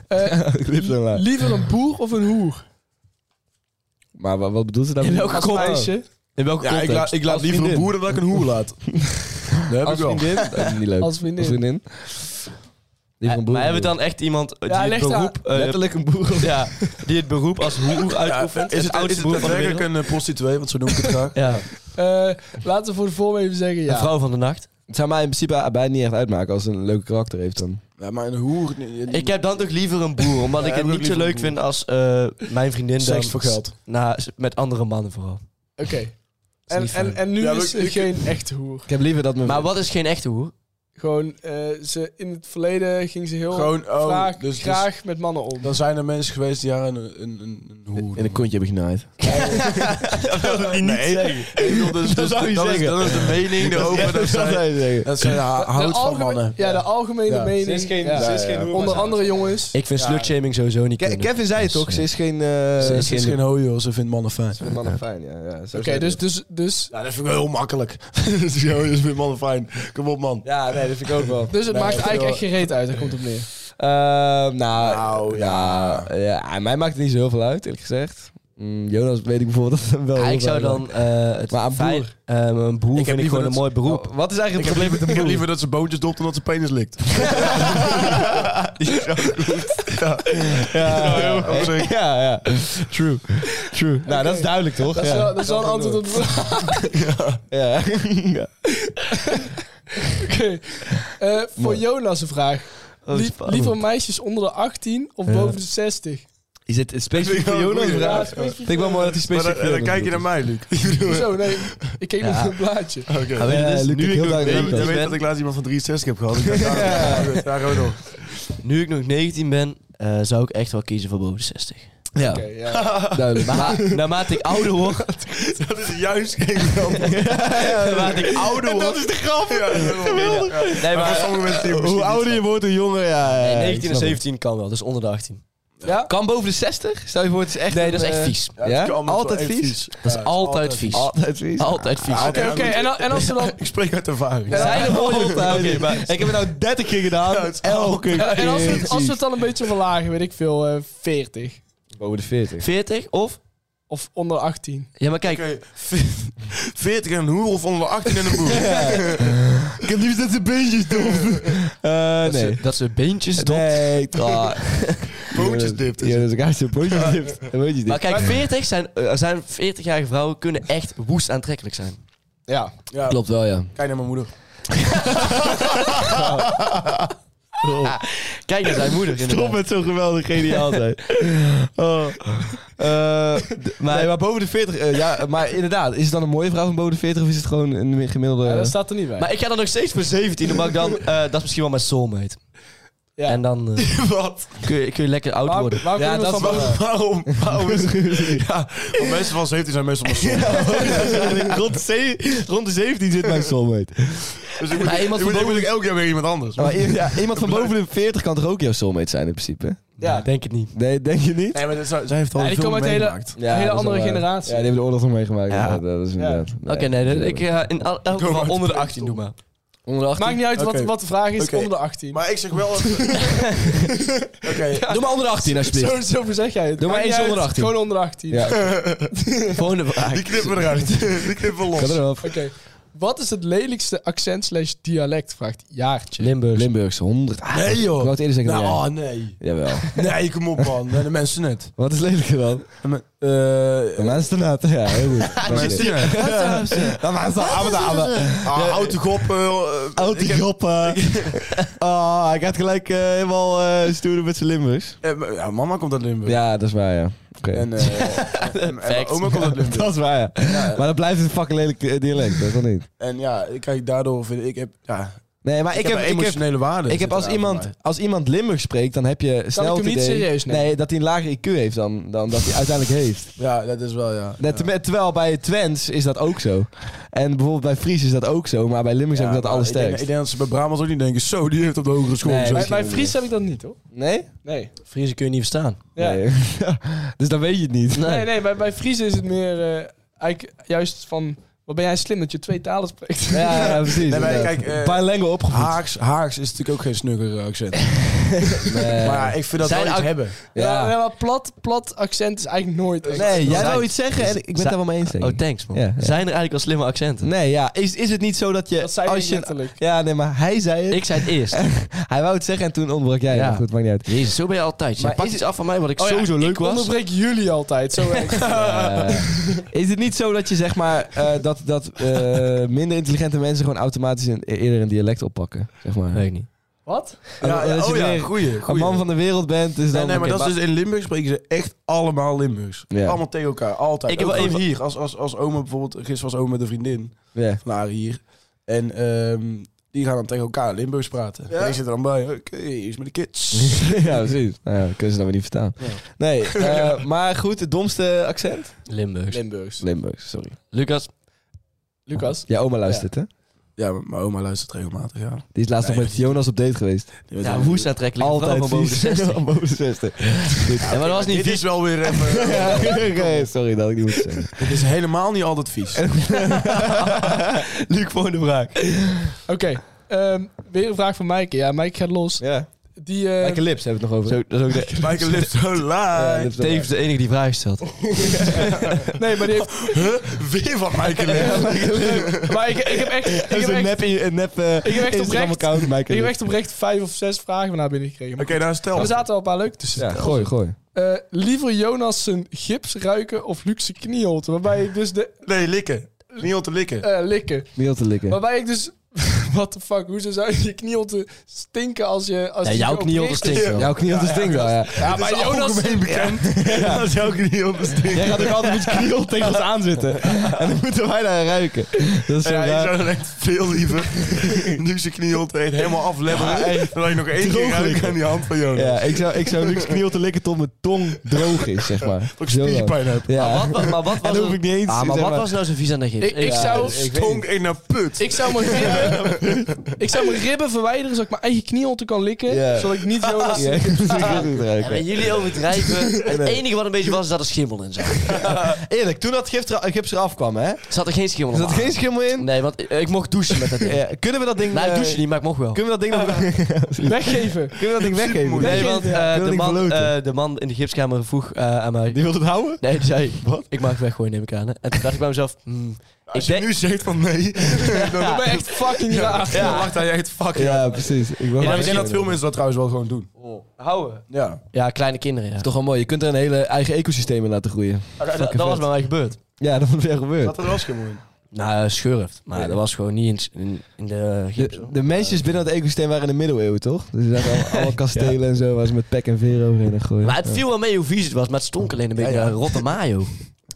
Speaker 5: Eh,
Speaker 3: <laughs>
Speaker 2: Clipsonlaar.
Speaker 5: liever een boer of een hoer?
Speaker 2: Maar wa- wat bedoelt ze daarmee?
Speaker 4: In welke
Speaker 5: Als meisje.
Speaker 4: In welke
Speaker 3: Ja, ik,
Speaker 4: context?
Speaker 3: laat ik laat
Speaker 2: Als
Speaker 3: liever een
Speaker 2: vriendin.
Speaker 3: boer dan dat ik een hoer
Speaker 2: <laughs>
Speaker 3: laat. dat heb ik
Speaker 2: Als
Speaker 3: wel.
Speaker 2: vriendin? Dat is niet leuk.
Speaker 5: Als vriendin.
Speaker 2: Die van
Speaker 4: Eh,
Speaker 2: boer.
Speaker 4: maar hebben we dan echt iemand eh,
Speaker 5: Ja,
Speaker 4: die,
Speaker 5: leg
Speaker 4: het
Speaker 5: daar-
Speaker 4: beroep, eh,
Speaker 2: Letterlijk een boer.
Speaker 4: ja, die het beroep als hoer
Speaker 3: Ja,
Speaker 4: uitoefent?
Speaker 3: is
Speaker 4: het,
Speaker 3: het, is
Speaker 4: oudste
Speaker 3: het
Speaker 4: beroep van de
Speaker 3: daadwerkelijk
Speaker 4: wereld?
Speaker 3: een eh, prostituee? Want zo noem ik het graag.
Speaker 4: Ja,
Speaker 5: Eh, laten we voor de vorm even zeggen
Speaker 4: een
Speaker 5: ja.
Speaker 4: vrouw van de nacht.
Speaker 2: Het zou mij in principe bijna niet echt uitmaken als ze een leuke karakter heeft dan.
Speaker 3: Ja, maar een hoer...
Speaker 4: Ik heb dan toch liever een boer, omdat
Speaker 3: Ja,
Speaker 4: ik het
Speaker 3: ik ook
Speaker 4: niet
Speaker 3: liever
Speaker 4: zo
Speaker 3: een
Speaker 4: leuk
Speaker 3: boer.
Speaker 4: vind als eh, mijn vriendin dan...
Speaker 3: seks voor geld.
Speaker 4: Nou, s- met andere mannen vooral.
Speaker 5: Oké.
Speaker 4: is
Speaker 5: En,
Speaker 4: niet
Speaker 5: en,
Speaker 4: fijn.
Speaker 5: en nu
Speaker 3: Ja, maar
Speaker 5: is
Speaker 3: ik-
Speaker 5: ze
Speaker 3: ik-
Speaker 5: geen echte hoer.
Speaker 2: Ik heb liever dat mijn...
Speaker 4: Maar wat is geen echte <laughs> hoer?
Speaker 5: Gewoon, eh, ze, in het verleden ging ze heel
Speaker 3: Gewoon, oh,
Speaker 5: vaak,
Speaker 3: dus- dus-
Speaker 5: graag met mannen om.
Speaker 3: Dan zijn er mensen geweest die haar een, een, een, een hoer...
Speaker 2: in een kontje heb ik genaaid.
Speaker 4: Dat wil <laughs> ik niet zeggen.
Speaker 3: Ik bedoel, dus-
Speaker 4: Dat
Speaker 3: dus
Speaker 4: zou je
Speaker 3: dat is-
Speaker 4: zeggen.
Speaker 3: dat is de mening erover dat zij... Dat zij ha-
Speaker 5: De
Speaker 3: houdt van
Speaker 5: algemeen-
Speaker 3: mannen.
Speaker 5: Ja, de algemene
Speaker 3: Ja.
Speaker 5: mening.
Speaker 3: Ze
Speaker 5: is geen, ja.
Speaker 3: is geen hoer,
Speaker 5: Onder andere jongens.
Speaker 4: Ik vind
Speaker 5: Ja.
Speaker 4: slutshaming sowieso niet kunnen.
Speaker 2: Kevin zei het toch? Dus Ze is geen... eh,
Speaker 3: Ze is geen hooi, hoor. Ze vindt mannen fijn.
Speaker 2: Ze vindt mannen fijn, ja. ja. Zo
Speaker 5: Oké,
Speaker 2: zei
Speaker 5: dus,
Speaker 2: hij.
Speaker 5: dus, dus,
Speaker 3: Ja, dat vind ik wel heel makkelijk. <laughs> Dus ja, dat is weer mannen fijn. Kom op, man.
Speaker 2: Ja, nee, dat vind ik ook wel.
Speaker 5: dus het
Speaker 3: Nee,
Speaker 5: maakt
Speaker 3: ik
Speaker 5: eigenlijk
Speaker 3: wil-
Speaker 5: echt geen reet uit. Daar komt het op neer.
Speaker 2: Ehm, nou,
Speaker 3: Nou,
Speaker 2: ja. Ja, mij maakt het niet zo heel veel uit, eerlijk gezegd. Mm, Jonas weet ik bijvoorbeeld dat hem wel.
Speaker 4: Ja,
Speaker 2: heel
Speaker 4: ik zou
Speaker 2: veel
Speaker 4: dan eh het
Speaker 2: Maar een
Speaker 4: feit- eh, een boer vind ik
Speaker 3: liever
Speaker 4: gewoon een
Speaker 3: dat-
Speaker 4: mooi beroep.
Speaker 2: uitmaakt. Wat is
Speaker 3: Ik
Speaker 2: eigenlijk
Speaker 3: heb,
Speaker 2: het probleem
Speaker 3: liever,
Speaker 2: met
Speaker 3: ik
Speaker 2: een
Speaker 3: heb
Speaker 2: boer?
Speaker 3: liever dat ze bootjes dopt dan dat ze penis likt.
Speaker 2: Ja,
Speaker 3: heel
Speaker 2: ja,
Speaker 3: goed.
Speaker 2: ja, ja. True. True. Nou, dat is duidelijk, toch?
Speaker 5: Dat is
Speaker 2: ja.
Speaker 5: wel, dat is wel een antwoord op de vraag.
Speaker 2: Ja. Ja. <laughs>
Speaker 5: Oké. Eh, voor Jonas een vraag.
Speaker 4: Oh,
Speaker 5: Lief-
Speaker 4: spannend.
Speaker 5: liever meisjes onder de 18 of
Speaker 4: Ja.
Speaker 5: boven de 60?
Speaker 2: Is dit specifiek voor Jonas?
Speaker 3: goeie.
Speaker 2: Ja,
Speaker 3: Ja,
Speaker 2: Vind ik wel mooi dat hij
Speaker 3: Maar
Speaker 2: specifiek
Speaker 3: dan,
Speaker 2: voor
Speaker 3: dan
Speaker 2: Jonas
Speaker 3: kijk je naar
Speaker 2: doet.
Speaker 3: mij, Luc.
Speaker 2: <laughs>
Speaker 5: Zo, nee. Ik keek niet op het blaadje.
Speaker 3: Oké.
Speaker 4: Maar weet je,
Speaker 2: Ja, Luc,
Speaker 4: dus
Speaker 2: Ah, ik
Speaker 4: nu, ik
Speaker 2: heel
Speaker 4: nog
Speaker 2: duidelijk
Speaker 3: Ik
Speaker 2: dat.
Speaker 4: 19
Speaker 3: weet
Speaker 4: ben,
Speaker 3: dat ik laatst iemand van 63 heb gehad. Ik dacht, daar- daar- Daar gaan we nog.
Speaker 4: nu ik nog 19 ben, eh, zou ik echt wel kiezen voor boven de 60.
Speaker 2: Ja,
Speaker 5: Oké, ja.
Speaker 2: duidelijk.
Speaker 4: Maar naarmate ik ouder <laughs> word,
Speaker 3: <laughs> Dat is juist geen grap.
Speaker 4: <laughs> naarmate ik ouder word...
Speaker 3: de grap. Ja, dat is wel geweldig. Maar
Speaker 4: Nee,
Speaker 3: voor
Speaker 4: maar eh,
Speaker 3: sommige mensen die
Speaker 2: Hoe ouder je wordt, hoe jonger, ja.
Speaker 4: nee,
Speaker 2: ja,
Speaker 4: 19
Speaker 2: ik
Speaker 4: en
Speaker 2: snap
Speaker 4: 17 kan wel, dus onder de 18.
Speaker 5: ja?
Speaker 2: het. Kan boven de 60? Stel je voor, het is echt...
Speaker 4: Nee, dat is
Speaker 2: een,
Speaker 4: echt
Speaker 2: eh,
Speaker 4: vies.
Speaker 3: het
Speaker 2: Ja?
Speaker 3: kan allemaal
Speaker 2: Altijd
Speaker 3: wel echt
Speaker 2: vies?
Speaker 3: vies.
Speaker 4: Dat is
Speaker 3: Ja,
Speaker 4: altijd vies.
Speaker 2: Altijd vies.
Speaker 4: Altijd vies.
Speaker 3: Ja,
Speaker 5: Oké, oké. En, dan- en als ze dan...
Speaker 3: Ik spreek uit ervaring.
Speaker 5: Ja.
Speaker 4: Zijn er mooie Oké, maar
Speaker 2: Ik heb er nou 30 keer
Speaker 3: <laughs> Ja,
Speaker 2: gedaan.
Speaker 3: het is
Speaker 2: Elke keer.
Speaker 5: eh, En als we, het, als we het dan een beetje verlagen, weet ik veel, eh 40.
Speaker 2: Boven de 40. <laughs>
Speaker 4: 40 of...
Speaker 5: Of onder 18.
Speaker 4: Ja, maar
Speaker 3: <laughs>
Speaker 4: kijk,
Speaker 3: Oké, ve- 40 en een hoer of onder de 18 en een boer? Ik heb liefst dat ze beentjes doen.
Speaker 2: <laughs> Eh,
Speaker 4: dat,
Speaker 2: nee.
Speaker 4: ze, dat ze beentjes dopt.
Speaker 2: Nee. Ah,
Speaker 3: Bootjes dipt.
Speaker 2: Ja, dat is een kaartje. Pootjes dipt. <laughs> En pootjes dipt.
Speaker 4: Maar kijk, 40 zijn, er zijn 40-jarige vrouwen kunnen echt woest aantrekkelijk zijn.
Speaker 5: Ja.
Speaker 3: Ja,
Speaker 2: Klopt wel, ja.
Speaker 3: Kijk naar mijn moeder.
Speaker 4: Kijk naar zijn moeder inderdaad.
Speaker 2: met zo'n geweldig geniaal zijn. <laughs> Oh. Eh, d- maar, nee, maar boven de 40, eh, ja, maar inderdaad, is het dan een mooie vrouw van boven de 40 of is het gewoon een gemiddelde...
Speaker 5: Ja, dat staat er niet bij.
Speaker 4: Maar ik ga dan nog steeds voor 17, omdat ik dan... eh, dat is misschien wel mijn soulmate.
Speaker 5: Ja.
Speaker 4: En dan eh,
Speaker 3: <laughs> Wat?
Speaker 4: kun, je, kun je lekker oud
Speaker 5: Waarom-
Speaker 4: worden.
Speaker 5: waarom
Speaker 2: Ja,
Speaker 5: kunnen we
Speaker 2: dat
Speaker 5: van
Speaker 2: is wel-
Speaker 5: boven-
Speaker 3: Waarom?
Speaker 4: <laughs>
Speaker 3: Waarom is Ja, want mensen van 17 zijn meestal maar stom.
Speaker 2: <laughs> rond, de ze- rond de 17 zit <laughs> mijn soulmate.
Speaker 3: Dus ik moet,
Speaker 4: Maar
Speaker 3: ik
Speaker 4: iemand
Speaker 3: moet,
Speaker 4: van
Speaker 3: ik moet ook elk jaar weer iemand anders. <laughs>
Speaker 2: Maar i- ja, iemand van boven de 40 kan toch ook jouw soulmate zijn in principe?
Speaker 4: Ja, denk het niet.
Speaker 2: Nee, denk je niet?
Speaker 3: Nee, maar dat zou- zij heeft al
Speaker 5: Ja, die
Speaker 3: veel
Speaker 5: komen uit hele,
Speaker 3: meegemaakt.
Speaker 2: Ja,
Speaker 5: hele
Speaker 2: dat is
Speaker 5: andere
Speaker 2: wel waar.
Speaker 5: generatie.
Speaker 2: Ja, die hebben de oorlog nog meegemaakt.
Speaker 4: Ja.
Speaker 2: Ja. dat is inderdaad.
Speaker 4: Oké, nee, dat- ik ga in al- elk
Speaker 3: Go
Speaker 4: geval
Speaker 3: maar.
Speaker 4: onder de
Speaker 2: <laughs>
Speaker 4: 18 doe maar.
Speaker 2: Onder de 18.
Speaker 5: Maakt niet uit wat,
Speaker 3: Oké.
Speaker 5: wat de vraag is,
Speaker 3: Oké.
Speaker 5: onder de 18.
Speaker 3: Maar ik zeg wel... <laughs> Oké,
Speaker 2: Doe maar onder de 18 alsjeblieft.
Speaker 5: <laughs> zo, zo verzeg jij het.
Speaker 2: Doe maar
Speaker 5: Maakt
Speaker 2: eens
Speaker 5: niet
Speaker 2: onder
Speaker 5: uit,
Speaker 2: 18.
Speaker 5: Gewoon onder 18.
Speaker 2: Ja, kan
Speaker 4: Volgende vraag.
Speaker 3: die knippen we eruit.
Speaker 2: <laughs>
Speaker 3: <laughs> Die knippen we los.
Speaker 2: erop.
Speaker 5: Oké. Wat is het lelijkste accent slash dialect? Vraagt Jaartje.
Speaker 4: Limburg.
Speaker 2: Limburgse 100. Ah,
Speaker 3: Nee, joh.
Speaker 2: Ik wou het eerder zeggen
Speaker 3: Nou,
Speaker 2: dan jij.
Speaker 3: oh, nee.
Speaker 2: Jawel.
Speaker 3: Nee, kom op, man. Nee, De mensen net.
Speaker 2: Wat is lelijker dan?
Speaker 3: Eh...
Speaker 2: De mensen daarna. Ja, heel goed. Dank je. De mensen daarna.
Speaker 3: Ah, autogop.
Speaker 2: Oud die grappen. Oh, hij gaat gelijk eh, helemaal eh stoeren met zijn limbers.
Speaker 3: eh, Ja, mama komt uit Limburg.
Speaker 2: Ja, dat is waar, ja. Oké.
Speaker 3: <laughs>
Speaker 2: <laughs>
Speaker 3: En, eh, en, en mijn oma komt uit Limburg.
Speaker 2: Dat is waar, ja. Maar dan blijft het een fucking lelijk eh, dialect, dat kan niet.
Speaker 3: En ja, kijk, daardoor vind ik... ik heb, ja,
Speaker 2: Nee, maar
Speaker 3: ik, heb,
Speaker 2: ik heb,
Speaker 3: emotionele waarde.
Speaker 2: ik heb als, iemand, als iemand Limburg spreekt, dan heb je snel
Speaker 5: ik hem
Speaker 2: het
Speaker 5: niet
Speaker 2: idee-
Speaker 5: serieus nemen?
Speaker 2: Nee, dat hij een lager IQ heeft dan, dan dat hij uiteindelijk heeft.
Speaker 3: Ja, dat is wel, ja.
Speaker 2: Net- terwijl- Terwijl bij Twents is dat ook zo. En bijvoorbeeld bij Fries is dat ook zo, maar bij Limburg heb ik dat alles
Speaker 3: Ik denk,
Speaker 2: sterkst.
Speaker 3: ik denk dat ze bij Brabants ook niet denken... Zo, die heeft op de hogere school
Speaker 2: Nee,
Speaker 3: gezeten.
Speaker 5: Bij, bij Fries heb ik dat niet, hoor.
Speaker 2: Nee?
Speaker 5: Nee.
Speaker 4: Vriezen kun je niet verstaan.
Speaker 5: Ja. Nee,
Speaker 2: Nee. <laughs> dus dan weet je het niet.
Speaker 5: nee, bij, bij Fries is het meer eh, eigenlijk juist van... Wat ben jij slim dat je twee talen spreekt?
Speaker 2: <laughs>
Speaker 5: <laughs>
Speaker 2: Ja, ja, precies.
Speaker 3: Nee, maar
Speaker 2: inderdaad.
Speaker 3: kijk, eh,
Speaker 2: Bilingual opgevoed.
Speaker 3: Haaks, Haaks is natuurlijk ook geen snugger eh, accent.
Speaker 2: Nee.
Speaker 3: Maar ja, ik vind dat
Speaker 4: Zijn
Speaker 3: wel iets
Speaker 4: ook-
Speaker 3: hebben.
Speaker 5: Ja.
Speaker 2: Ja.
Speaker 5: ja, maar plat, plat accent is eigenlijk nooit echt.
Speaker 2: Nee, jij
Speaker 4: Zijn-
Speaker 2: wou iets zeggen en ik ben het
Speaker 4: Zijn-
Speaker 2: daar wel mee eens. denk
Speaker 4: Oh,
Speaker 2: ik.
Speaker 4: thanks man.
Speaker 2: Ja, ja.
Speaker 4: Zijn er eigenlijk al slimme accenten?
Speaker 2: Nee, ja. Is, is het niet zo dat je...
Speaker 5: Dat zei hij
Speaker 2: als je
Speaker 5: letterlijk.
Speaker 2: ja, nee, maar hij zei het.
Speaker 4: Ik zei het eerst.
Speaker 2: Hij wou het zeggen en toen ontbrak jij.
Speaker 4: Ja.
Speaker 2: Ja. Goed, maakt niet
Speaker 3: <laughs>
Speaker 2: uit.
Speaker 4: Jezus, zo ben je altijd. Je
Speaker 2: Maar
Speaker 4: pakt
Speaker 2: is
Speaker 4: iets af van mij wat ik
Speaker 5: Oh ja,
Speaker 4: sowieso leuk
Speaker 5: Ik
Speaker 4: was.
Speaker 5: onderbreek jullie
Speaker 2: <laughs>
Speaker 5: altijd. Zo erg.
Speaker 2: Eh, is het niet zo dat je zeg maar eh, dat, dat eh, minder intelligente mensen gewoon automatisch een, e-, eerder een dialect oppakken? Zeg maar.
Speaker 4: Weet ik niet.
Speaker 5: Wat?
Speaker 2: Ja,
Speaker 3: Ja,
Speaker 2: als je
Speaker 3: oh ja,
Speaker 2: weer
Speaker 3: goeie.
Speaker 2: Een
Speaker 3: goeie.
Speaker 2: man van de wereld bent, is
Speaker 3: Nee,
Speaker 2: dan.
Speaker 3: nee, maar
Speaker 2: oké,
Speaker 3: dat is dus in Limburg spreken ze echt allemaal Limburgs.
Speaker 2: Ja.
Speaker 3: Allemaal tegen elkaar, altijd.
Speaker 4: Ik heb
Speaker 3: Ook
Speaker 4: wel
Speaker 3: gewoon
Speaker 4: even-
Speaker 3: hier, als, als, als oma bijvoorbeeld, gisteren was oma met een vriendin
Speaker 2: ja.
Speaker 3: van haar hier. En ehm, die gaan dan tegen elkaar Limburgs praten. En ik zit er dan bij, oké, is met de kids.
Speaker 2: <laughs> ja, precies. Nou, ja, dat kunnen ze dan weer niet verstaan. Nee, <laughs> eh, maar goed, het domste accent?
Speaker 4: Limburgs.
Speaker 3: Limburgs.
Speaker 2: Limburgs, sorry.
Speaker 4: Lucas,
Speaker 5: Lucas?
Speaker 2: Ja, oma luistert, hè?
Speaker 3: Ja, maar mijn oma luistert regelmatig, ja.
Speaker 2: Die is laatst
Speaker 3: Nee,
Speaker 2: nog met Jonas op date geweest.
Speaker 3: Die weet
Speaker 4: ja,
Speaker 3: wel-
Speaker 4: woest aantrekkelijk. Altijd van boven de
Speaker 2: <laughs>
Speaker 4: 60.
Speaker 2: Van boven de 60.
Speaker 4: Ja, maar dat was niet
Speaker 3: Dit
Speaker 4: vies.
Speaker 3: is
Speaker 4: <laughs>
Speaker 3: wel weer even...
Speaker 2: <laughs> Ja, oké, sorry dat had ik niet moet zeggen.
Speaker 3: Dit is helemaal niet altijd vies.
Speaker 2: Luc voor de vraag.
Speaker 5: Oké. ehm, weer een vraag van Maaike. Ja, Maaike gaat los.
Speaker 2: Ja.
Speaker 5: Die, eh,
Speaker 2: Lekker lips hebben we het nog over.
Speaker 4: Zo, dat is ook de,
Speaker 3: Michael lives
Speaker 2: <laughs>
Speaker 3: so
Speaker 2: Ja,
Speaker 3: live.
Speaker 2: lips wel
Speaker 4: tevens de enige die vragen stelt.
Speaker 5: nee, maar
Speaker 2: <laughs>
Speaker 5: die heeft...
Speaker 3: Huh? Weer van Michael lives.
Speaker 5: maar ik, ik heb echt... Ik
Speaker 2: Dat
Speaker 5: heb
Speaker 2: is een
Speaker 5: echt,
Speaker 2: nep, in- een nep eh,
Speaker 5: heb echt
Speaker 2: Instagram-account.
Speaker 5: ik heb echt oprecht vijf of zes vragen van haar binnengekregen.
Speaker 3: Oké, nou stel.
Speaker 5: Maar er zaten wel een paar leuk tussen.
Speaker 2: Ja, gooi, gooi.
Speaker 5: Eh, liever Jonas zijn gips ruiken of luxe knieholte? Waarbij ik dus de...
Speaker 3: Nee, likken. Niet om te likken.
Speaker 5: eh, likken.
Speaker 2: Miel te likken.
Speaker 5: Waarbij ik dus... <laughs> What the fuck? Hoezo zou je knieholte stinken als je... Als
Speaker 4: Ja,
Speaker 5: je
Speaker 4: jouw
Speaker 5: geopereerd
Speaker 4: knieholte
Speaker 5: is?
Speaker 4: stinkt wel.
Speaker 2: Jouw kniel te stinken wel, ja.
Speaker 5: Ja, maar Dus Jonas...
Speaker 3: Ja. Dat is ook niet om te stinken.
Speaker 2: Jij gaat ook altijd met je kniel tegen ons <laughs> aanzitten. En dan moeten wij daar ruiken. Dat is zo
Speaker 3: Ja, ik
Speaker 2: raar.
Speaker 3: zou dan echt veel liever nu zijn knie op het helemaal aflemmeren. dan dat ik nog één keer
Speaker 2: Droog
Speaker 3: ruik
Speaker 2: likken.
Speaker 3: aan die hand van Jonas.
Speaker 2: Ja, ik zou, ik zou Luc kniel te likken tot mijn tong droog is, zeg maar. <laughs>
Speaker 3: Dat ik
Speaker 2: Zo lang.
Speaker 3: spierpijn heb.
Speaker 2: Ja.
Speaker 4: Maar, wat, maar wat
Speaker 2: En
Speaker 4: was
Speaker 2: dan hoef
Speaker 4: er-
Speaker 2: ik niet eens...
Speaker 4: Ah, maar
Speaker 2: zeg
Speaker 4: wat was nou zijn vies aan de gips?
Speaker 5: Ik, ik
Speaker 4: Ja.
Speaker 5: zou...
Speaker 3: Stonk ik naar put.
Speaker 5: Ik zou, mijn ribben, <laughs> ik zou mijn ribben verwijderen zodat ik mijn eigen knieholte kan likken.
Speaker 2: Ja.
Speaker 5: Zodat ik niet
Speaker 2: <laughs>
Speaker 5: Jonas...
Speaker 2: Ja, goed
Speaker 4: Ja, maar
Speaker 2: ruiken.
Speaker 4: jullie
Speaker 2: <laughs>
Speaker 4: overdrijven. Het enige wat een beetje was, is dat er schimmel in zat.
Speaker 2: Eerlijk, toen dat gips er- gips eraf kwam, hè?
Speaker 4: Zat er geen schimmel in?
Speaker 2: Zat er geen schimmel in?
Speaker 4: Nee, want ik, ik mocht douchen met dat ding.
Speaker 2: Ja, kunnen we dat ding...
Speaker 4: Nee, ik
Speaker 2: eh,
Speaker 4: douche niet, maar ik mocht wel.
Speaker 2: Kunnen we dat ding
Speaker 4: <laughs>
Speaker 2: nog... Kunnen
Speaker 5: Weggeven.
Speaker 2: we dat ding weggeven?
Speaker 4: Nee, want
Speaker 2: Kunnen we
Speaker 4: eh, de,
Speaker 2: dat ding
Speaker 4: man,
Speaker 2: verloten?
Speaker 4: eh, de man in de gipskamer vroeg eh, aan mij...
Speaker 2: Die wilde het houden?
Speaker 4: Nee, die zei, wat? ik mag het weggooien, neem ik aan. Hè. En toen dacht ik bij mezelf, hmm, ik
Speaker 3: Als je
Speaker 4: denk...
Speaker 3: nu zegt van nee,
Speaker 5: Ik
Speaker 3: dan
Speaker 5: ben echt fucking raar.
Speaker 3: ja. wacht hij echt fucking ja.
Speaker 2: Ja, precies. Ik
Speaker 4: Ja,
Speaker 3: Ik denk dat veel mensen dat trouwens wel gewoon doen.
Speaker 4: Houden?
Speaker 3: Ja.
Speaker 4: Ja, kleine kinderen, ja.
Speaker 2: Toch wel mooi. Je kunt er een hele eigen ecosysteem in laten groeien.
Speaker 4: dat, dat was bij mij gebeurd.
Speaker 2: Ja, dat is weer gebeurd.
Speaker 3: Dat er was gewoon.
Speaker 2: eh,
Speaker 4: Nou, schurft. Maar dat was gewoon niet in, in, in de gips.
Speaker 2: De, de mensjes binnen het ecosysteem waren in de middeleeuwen, toch? Dus er zaten allemaal, <laughs> allemaal kastelen en zo, waar ze met pek en veren overheen en gooien.
Speaker 4: Maar het viel wel mee hoe vies het was, maar het stonk alleen een beetje
Speaker 3: ja.
Speaker 4: naar rotte mayo.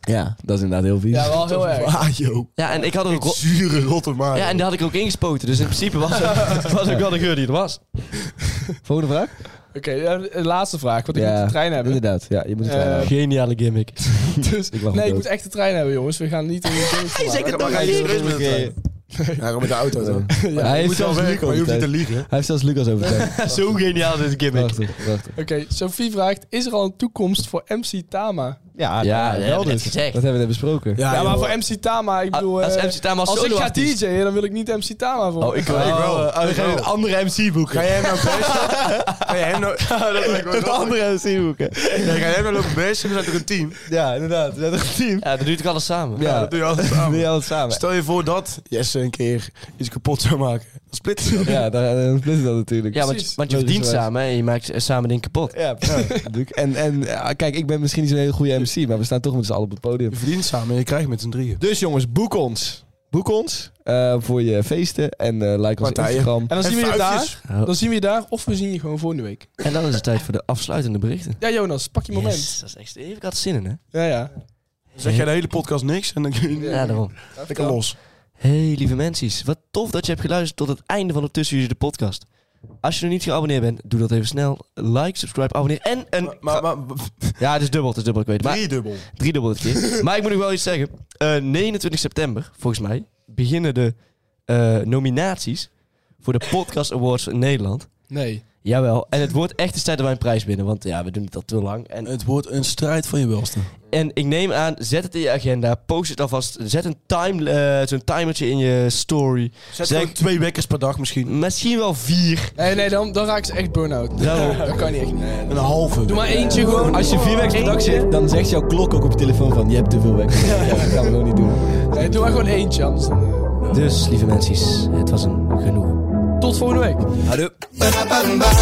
Speaker 2: Ja, dat is inderdaad heel vies.
Speaker 5: Ja, wel heel erg.
Speaker 3: Ah joh.
Speaker 4: Ja, en ik had er ook... ro-
Speaker 3: Zure rotte maag.
Speaker 4: Ja, en daar had ik er ook ingespoten, dus in principe was
Speaker 3: <laughs>
Speaker 4: het was ook wel de geur die er was.
Speaker 2: Volgende vraag?
Speaker 5: Oké, ja, de laatste vraag. Want ik
Speaker 2: Ja,
Speaker 5: moet de
Speaker 2: <laughs>
Speaker 5: trein hebben.
Speaker 2: Inderdaad, ja, je moet het
Speaker 5: Eh,
Speaker 2: uh,
Speaker 4: Geniale gimmick.
Speaker 5: Dus,
Speaker 2: Ik lach
Speaker 5: nee,
Speaker 2: me
Speaker 5: ik
Speaker 2: dood.
Speaker 5: moet echt de trein hebben, jongens. We gaan niet in de
Speaker 3: maar ga je serieus met de trein? Ja, gewoon met de auto dan.
Speaker 2: Ja, hij,
Speaker 3: Je
Speaker 2: heeft
Speaker 3: moet wel
Speaker 2: zelfs Lucas
Speaker 3: werken, maar je hoeft niet te
Speaker 2: overtuigd.
Speaker 3: liegen.
Speaker 2: hij heeft zelfs Lucas
Speaker 3: <laughs>
Speaker 2: overtuigd.
Speaker 4: <laughs> Zo geniaal dit gimmick.
Speaker 2: prachtig, prachtig.
Speaker 5: Oké, Sophie vraagt, is er al een toekomst voor MC Tama?
Speaker 2: Ja,
Speaker 4: Ja,
Speaker 2: nou,
Speaker 4: dat hebben we net gezegd.
Speaker 2: Dat hebben we net besproken.
Speaker 5: Ja, maar
Speaker 3: joh.
Speaker 5: voor MC Tama, ik bedoel...
Speaker 4: Als
Speaker 5: eh,
Speaker 4: MC Tama
Speaker 5: als ik ga
Speaker 4: solo-artiest.
Speaker 5: DJ'en, dan wil ik niet MC Tama voor.
Speaker 4: Oh, ik
Speaker 3: Ja, ik wel.
Speaker 2: Oh, eh, we
Speaker 3: Ik
Speaker 2: gaan
Speaker 3: wel.
Speaker 2: een andere MC boeken.
Speaker 3: Ga jij hem nou best? Ga jij hem nou... dat lijkt me wel
Speaker 2: Een
Speaker 3: grappig.
Speaker 2: andere MC boeken.
Speaker 3: Nee, ga jij nou lopen best? We zijn toch een team?
Speaker 2: Ja, inderdaad. We zijn toch een team?
Speaker 4: Ja, dat doet ik alles samen.
Speaker 3: Ja,
Speaker 2: Ja,
Speaker 3: dat doe je altijd
Speaker 2: doe
Speaker 3: samen.
Speaker 2: je alles samen.
Speaker 3: Stel je voor dat Jesse een keer iets kapot zou maken. Dan splitsen we.
Speaker 2: Ja, dan, dan splitsen dat natuurlijk.
Speaker 4: Ja, want,
Speaker 5: Precies.
Speaker 4: want je verdient
Speaker 2: Logischerwijs.
Speaker 4: samen hè, en je maakt eh, samen dingen kapot.
Speaker 2: Ja, natuurlijk. En, en ja, kijk, ik ben misschien niet zo'n hele goede MC, maar we staan toch met z'n allen op het podium.
Speaker 3: Je verdient samen en je krijgt met z'n drieën.
Speaker 2: Dus jongens, boek ons. Boek ons eh, voor je feesten en eh, like ons
Speaker 3: Partijen.
Speaker 2: Instagram.
Speaker 5: En dan zien we je daar.
Speaker 3: vuistjes.
Speaker 5: Dan zien we je daar, of we zien je gewoon volgende week.
Speaker 4: En dan is het tijd voor de afsluitende berichten.
Speaker 5: Ja, Jonas, pak je moment.
Speaker 4: Yes, dat is echt even had zin in, hè?
Speaker 5: Ja, ja.
Speaker 3: Dan zeg jij de hele podcast niks en dan kun je
Speaker 4: Ja, daarom.
Speaker 3: lekker los.
Speaker 4: Hey, lieve mensen. Wat tof dat je hebt geluisterd tot het einde van de Tussen Jullie de podcast. Als je nog niet geabonneerd bent, doe dat even snel. Like, subscribe, abonneer en een...
Speaker 3: Maar, maar, maar
Speaker 4: ja, het is dubbel, het is dubbel, ik weet het. Maar
Speaker 3: driedubbel.
Speaker 4: Drie dubbel dit keer. maar ik moet nog wel iets zeggen. Eh, 29 september, volgens mij, beginnen de eh, nominaties voor de Podcast Awards in Nederland.
Speaker 5: Nee.
Speaker 4: Jawel. En het wordt echt eens tijd dat wij een prijs winnen. Want ja, we doen het al te lang. En
Speaker 3: Het wordt een strijd van je welste.
Speaker 4: En ik neem aan, zet het in je agenda. Post het alvast. Zet een time, eh, zo'n timertje in je story.
Speaker 3: Zet
Speaker 4: Zeg-
Speaker 3: gewoon twee wekkers per dag misschien.
Speaker 4: Misschien wel vier.
Speaker 5: Nee, nee, dan, dan raak ze echt burn-out.
Speaker 4: Daarom.
Speaker 5: <laughs> Dat kan niet echt. Doe
Speaker 3: Een halve.
Speaker 5: maar eentje gewoon.
Speaker 2: Als je vier weken per dag
Speaker 5: Eentje.
Speaker 2: zit, dan zegt jouw klok ook op je telefoon van je hebt te veel weg. Ja, dat gaan we gewoon niet doen.
Speaker 5: Nee, doe maar gewoon eentje, anders dan... eh,
Speaker 4: Dus, lieve mensen, het was een genoeg.
Speaker 5: Tot volgende week.
Speaker 2: Houdoe.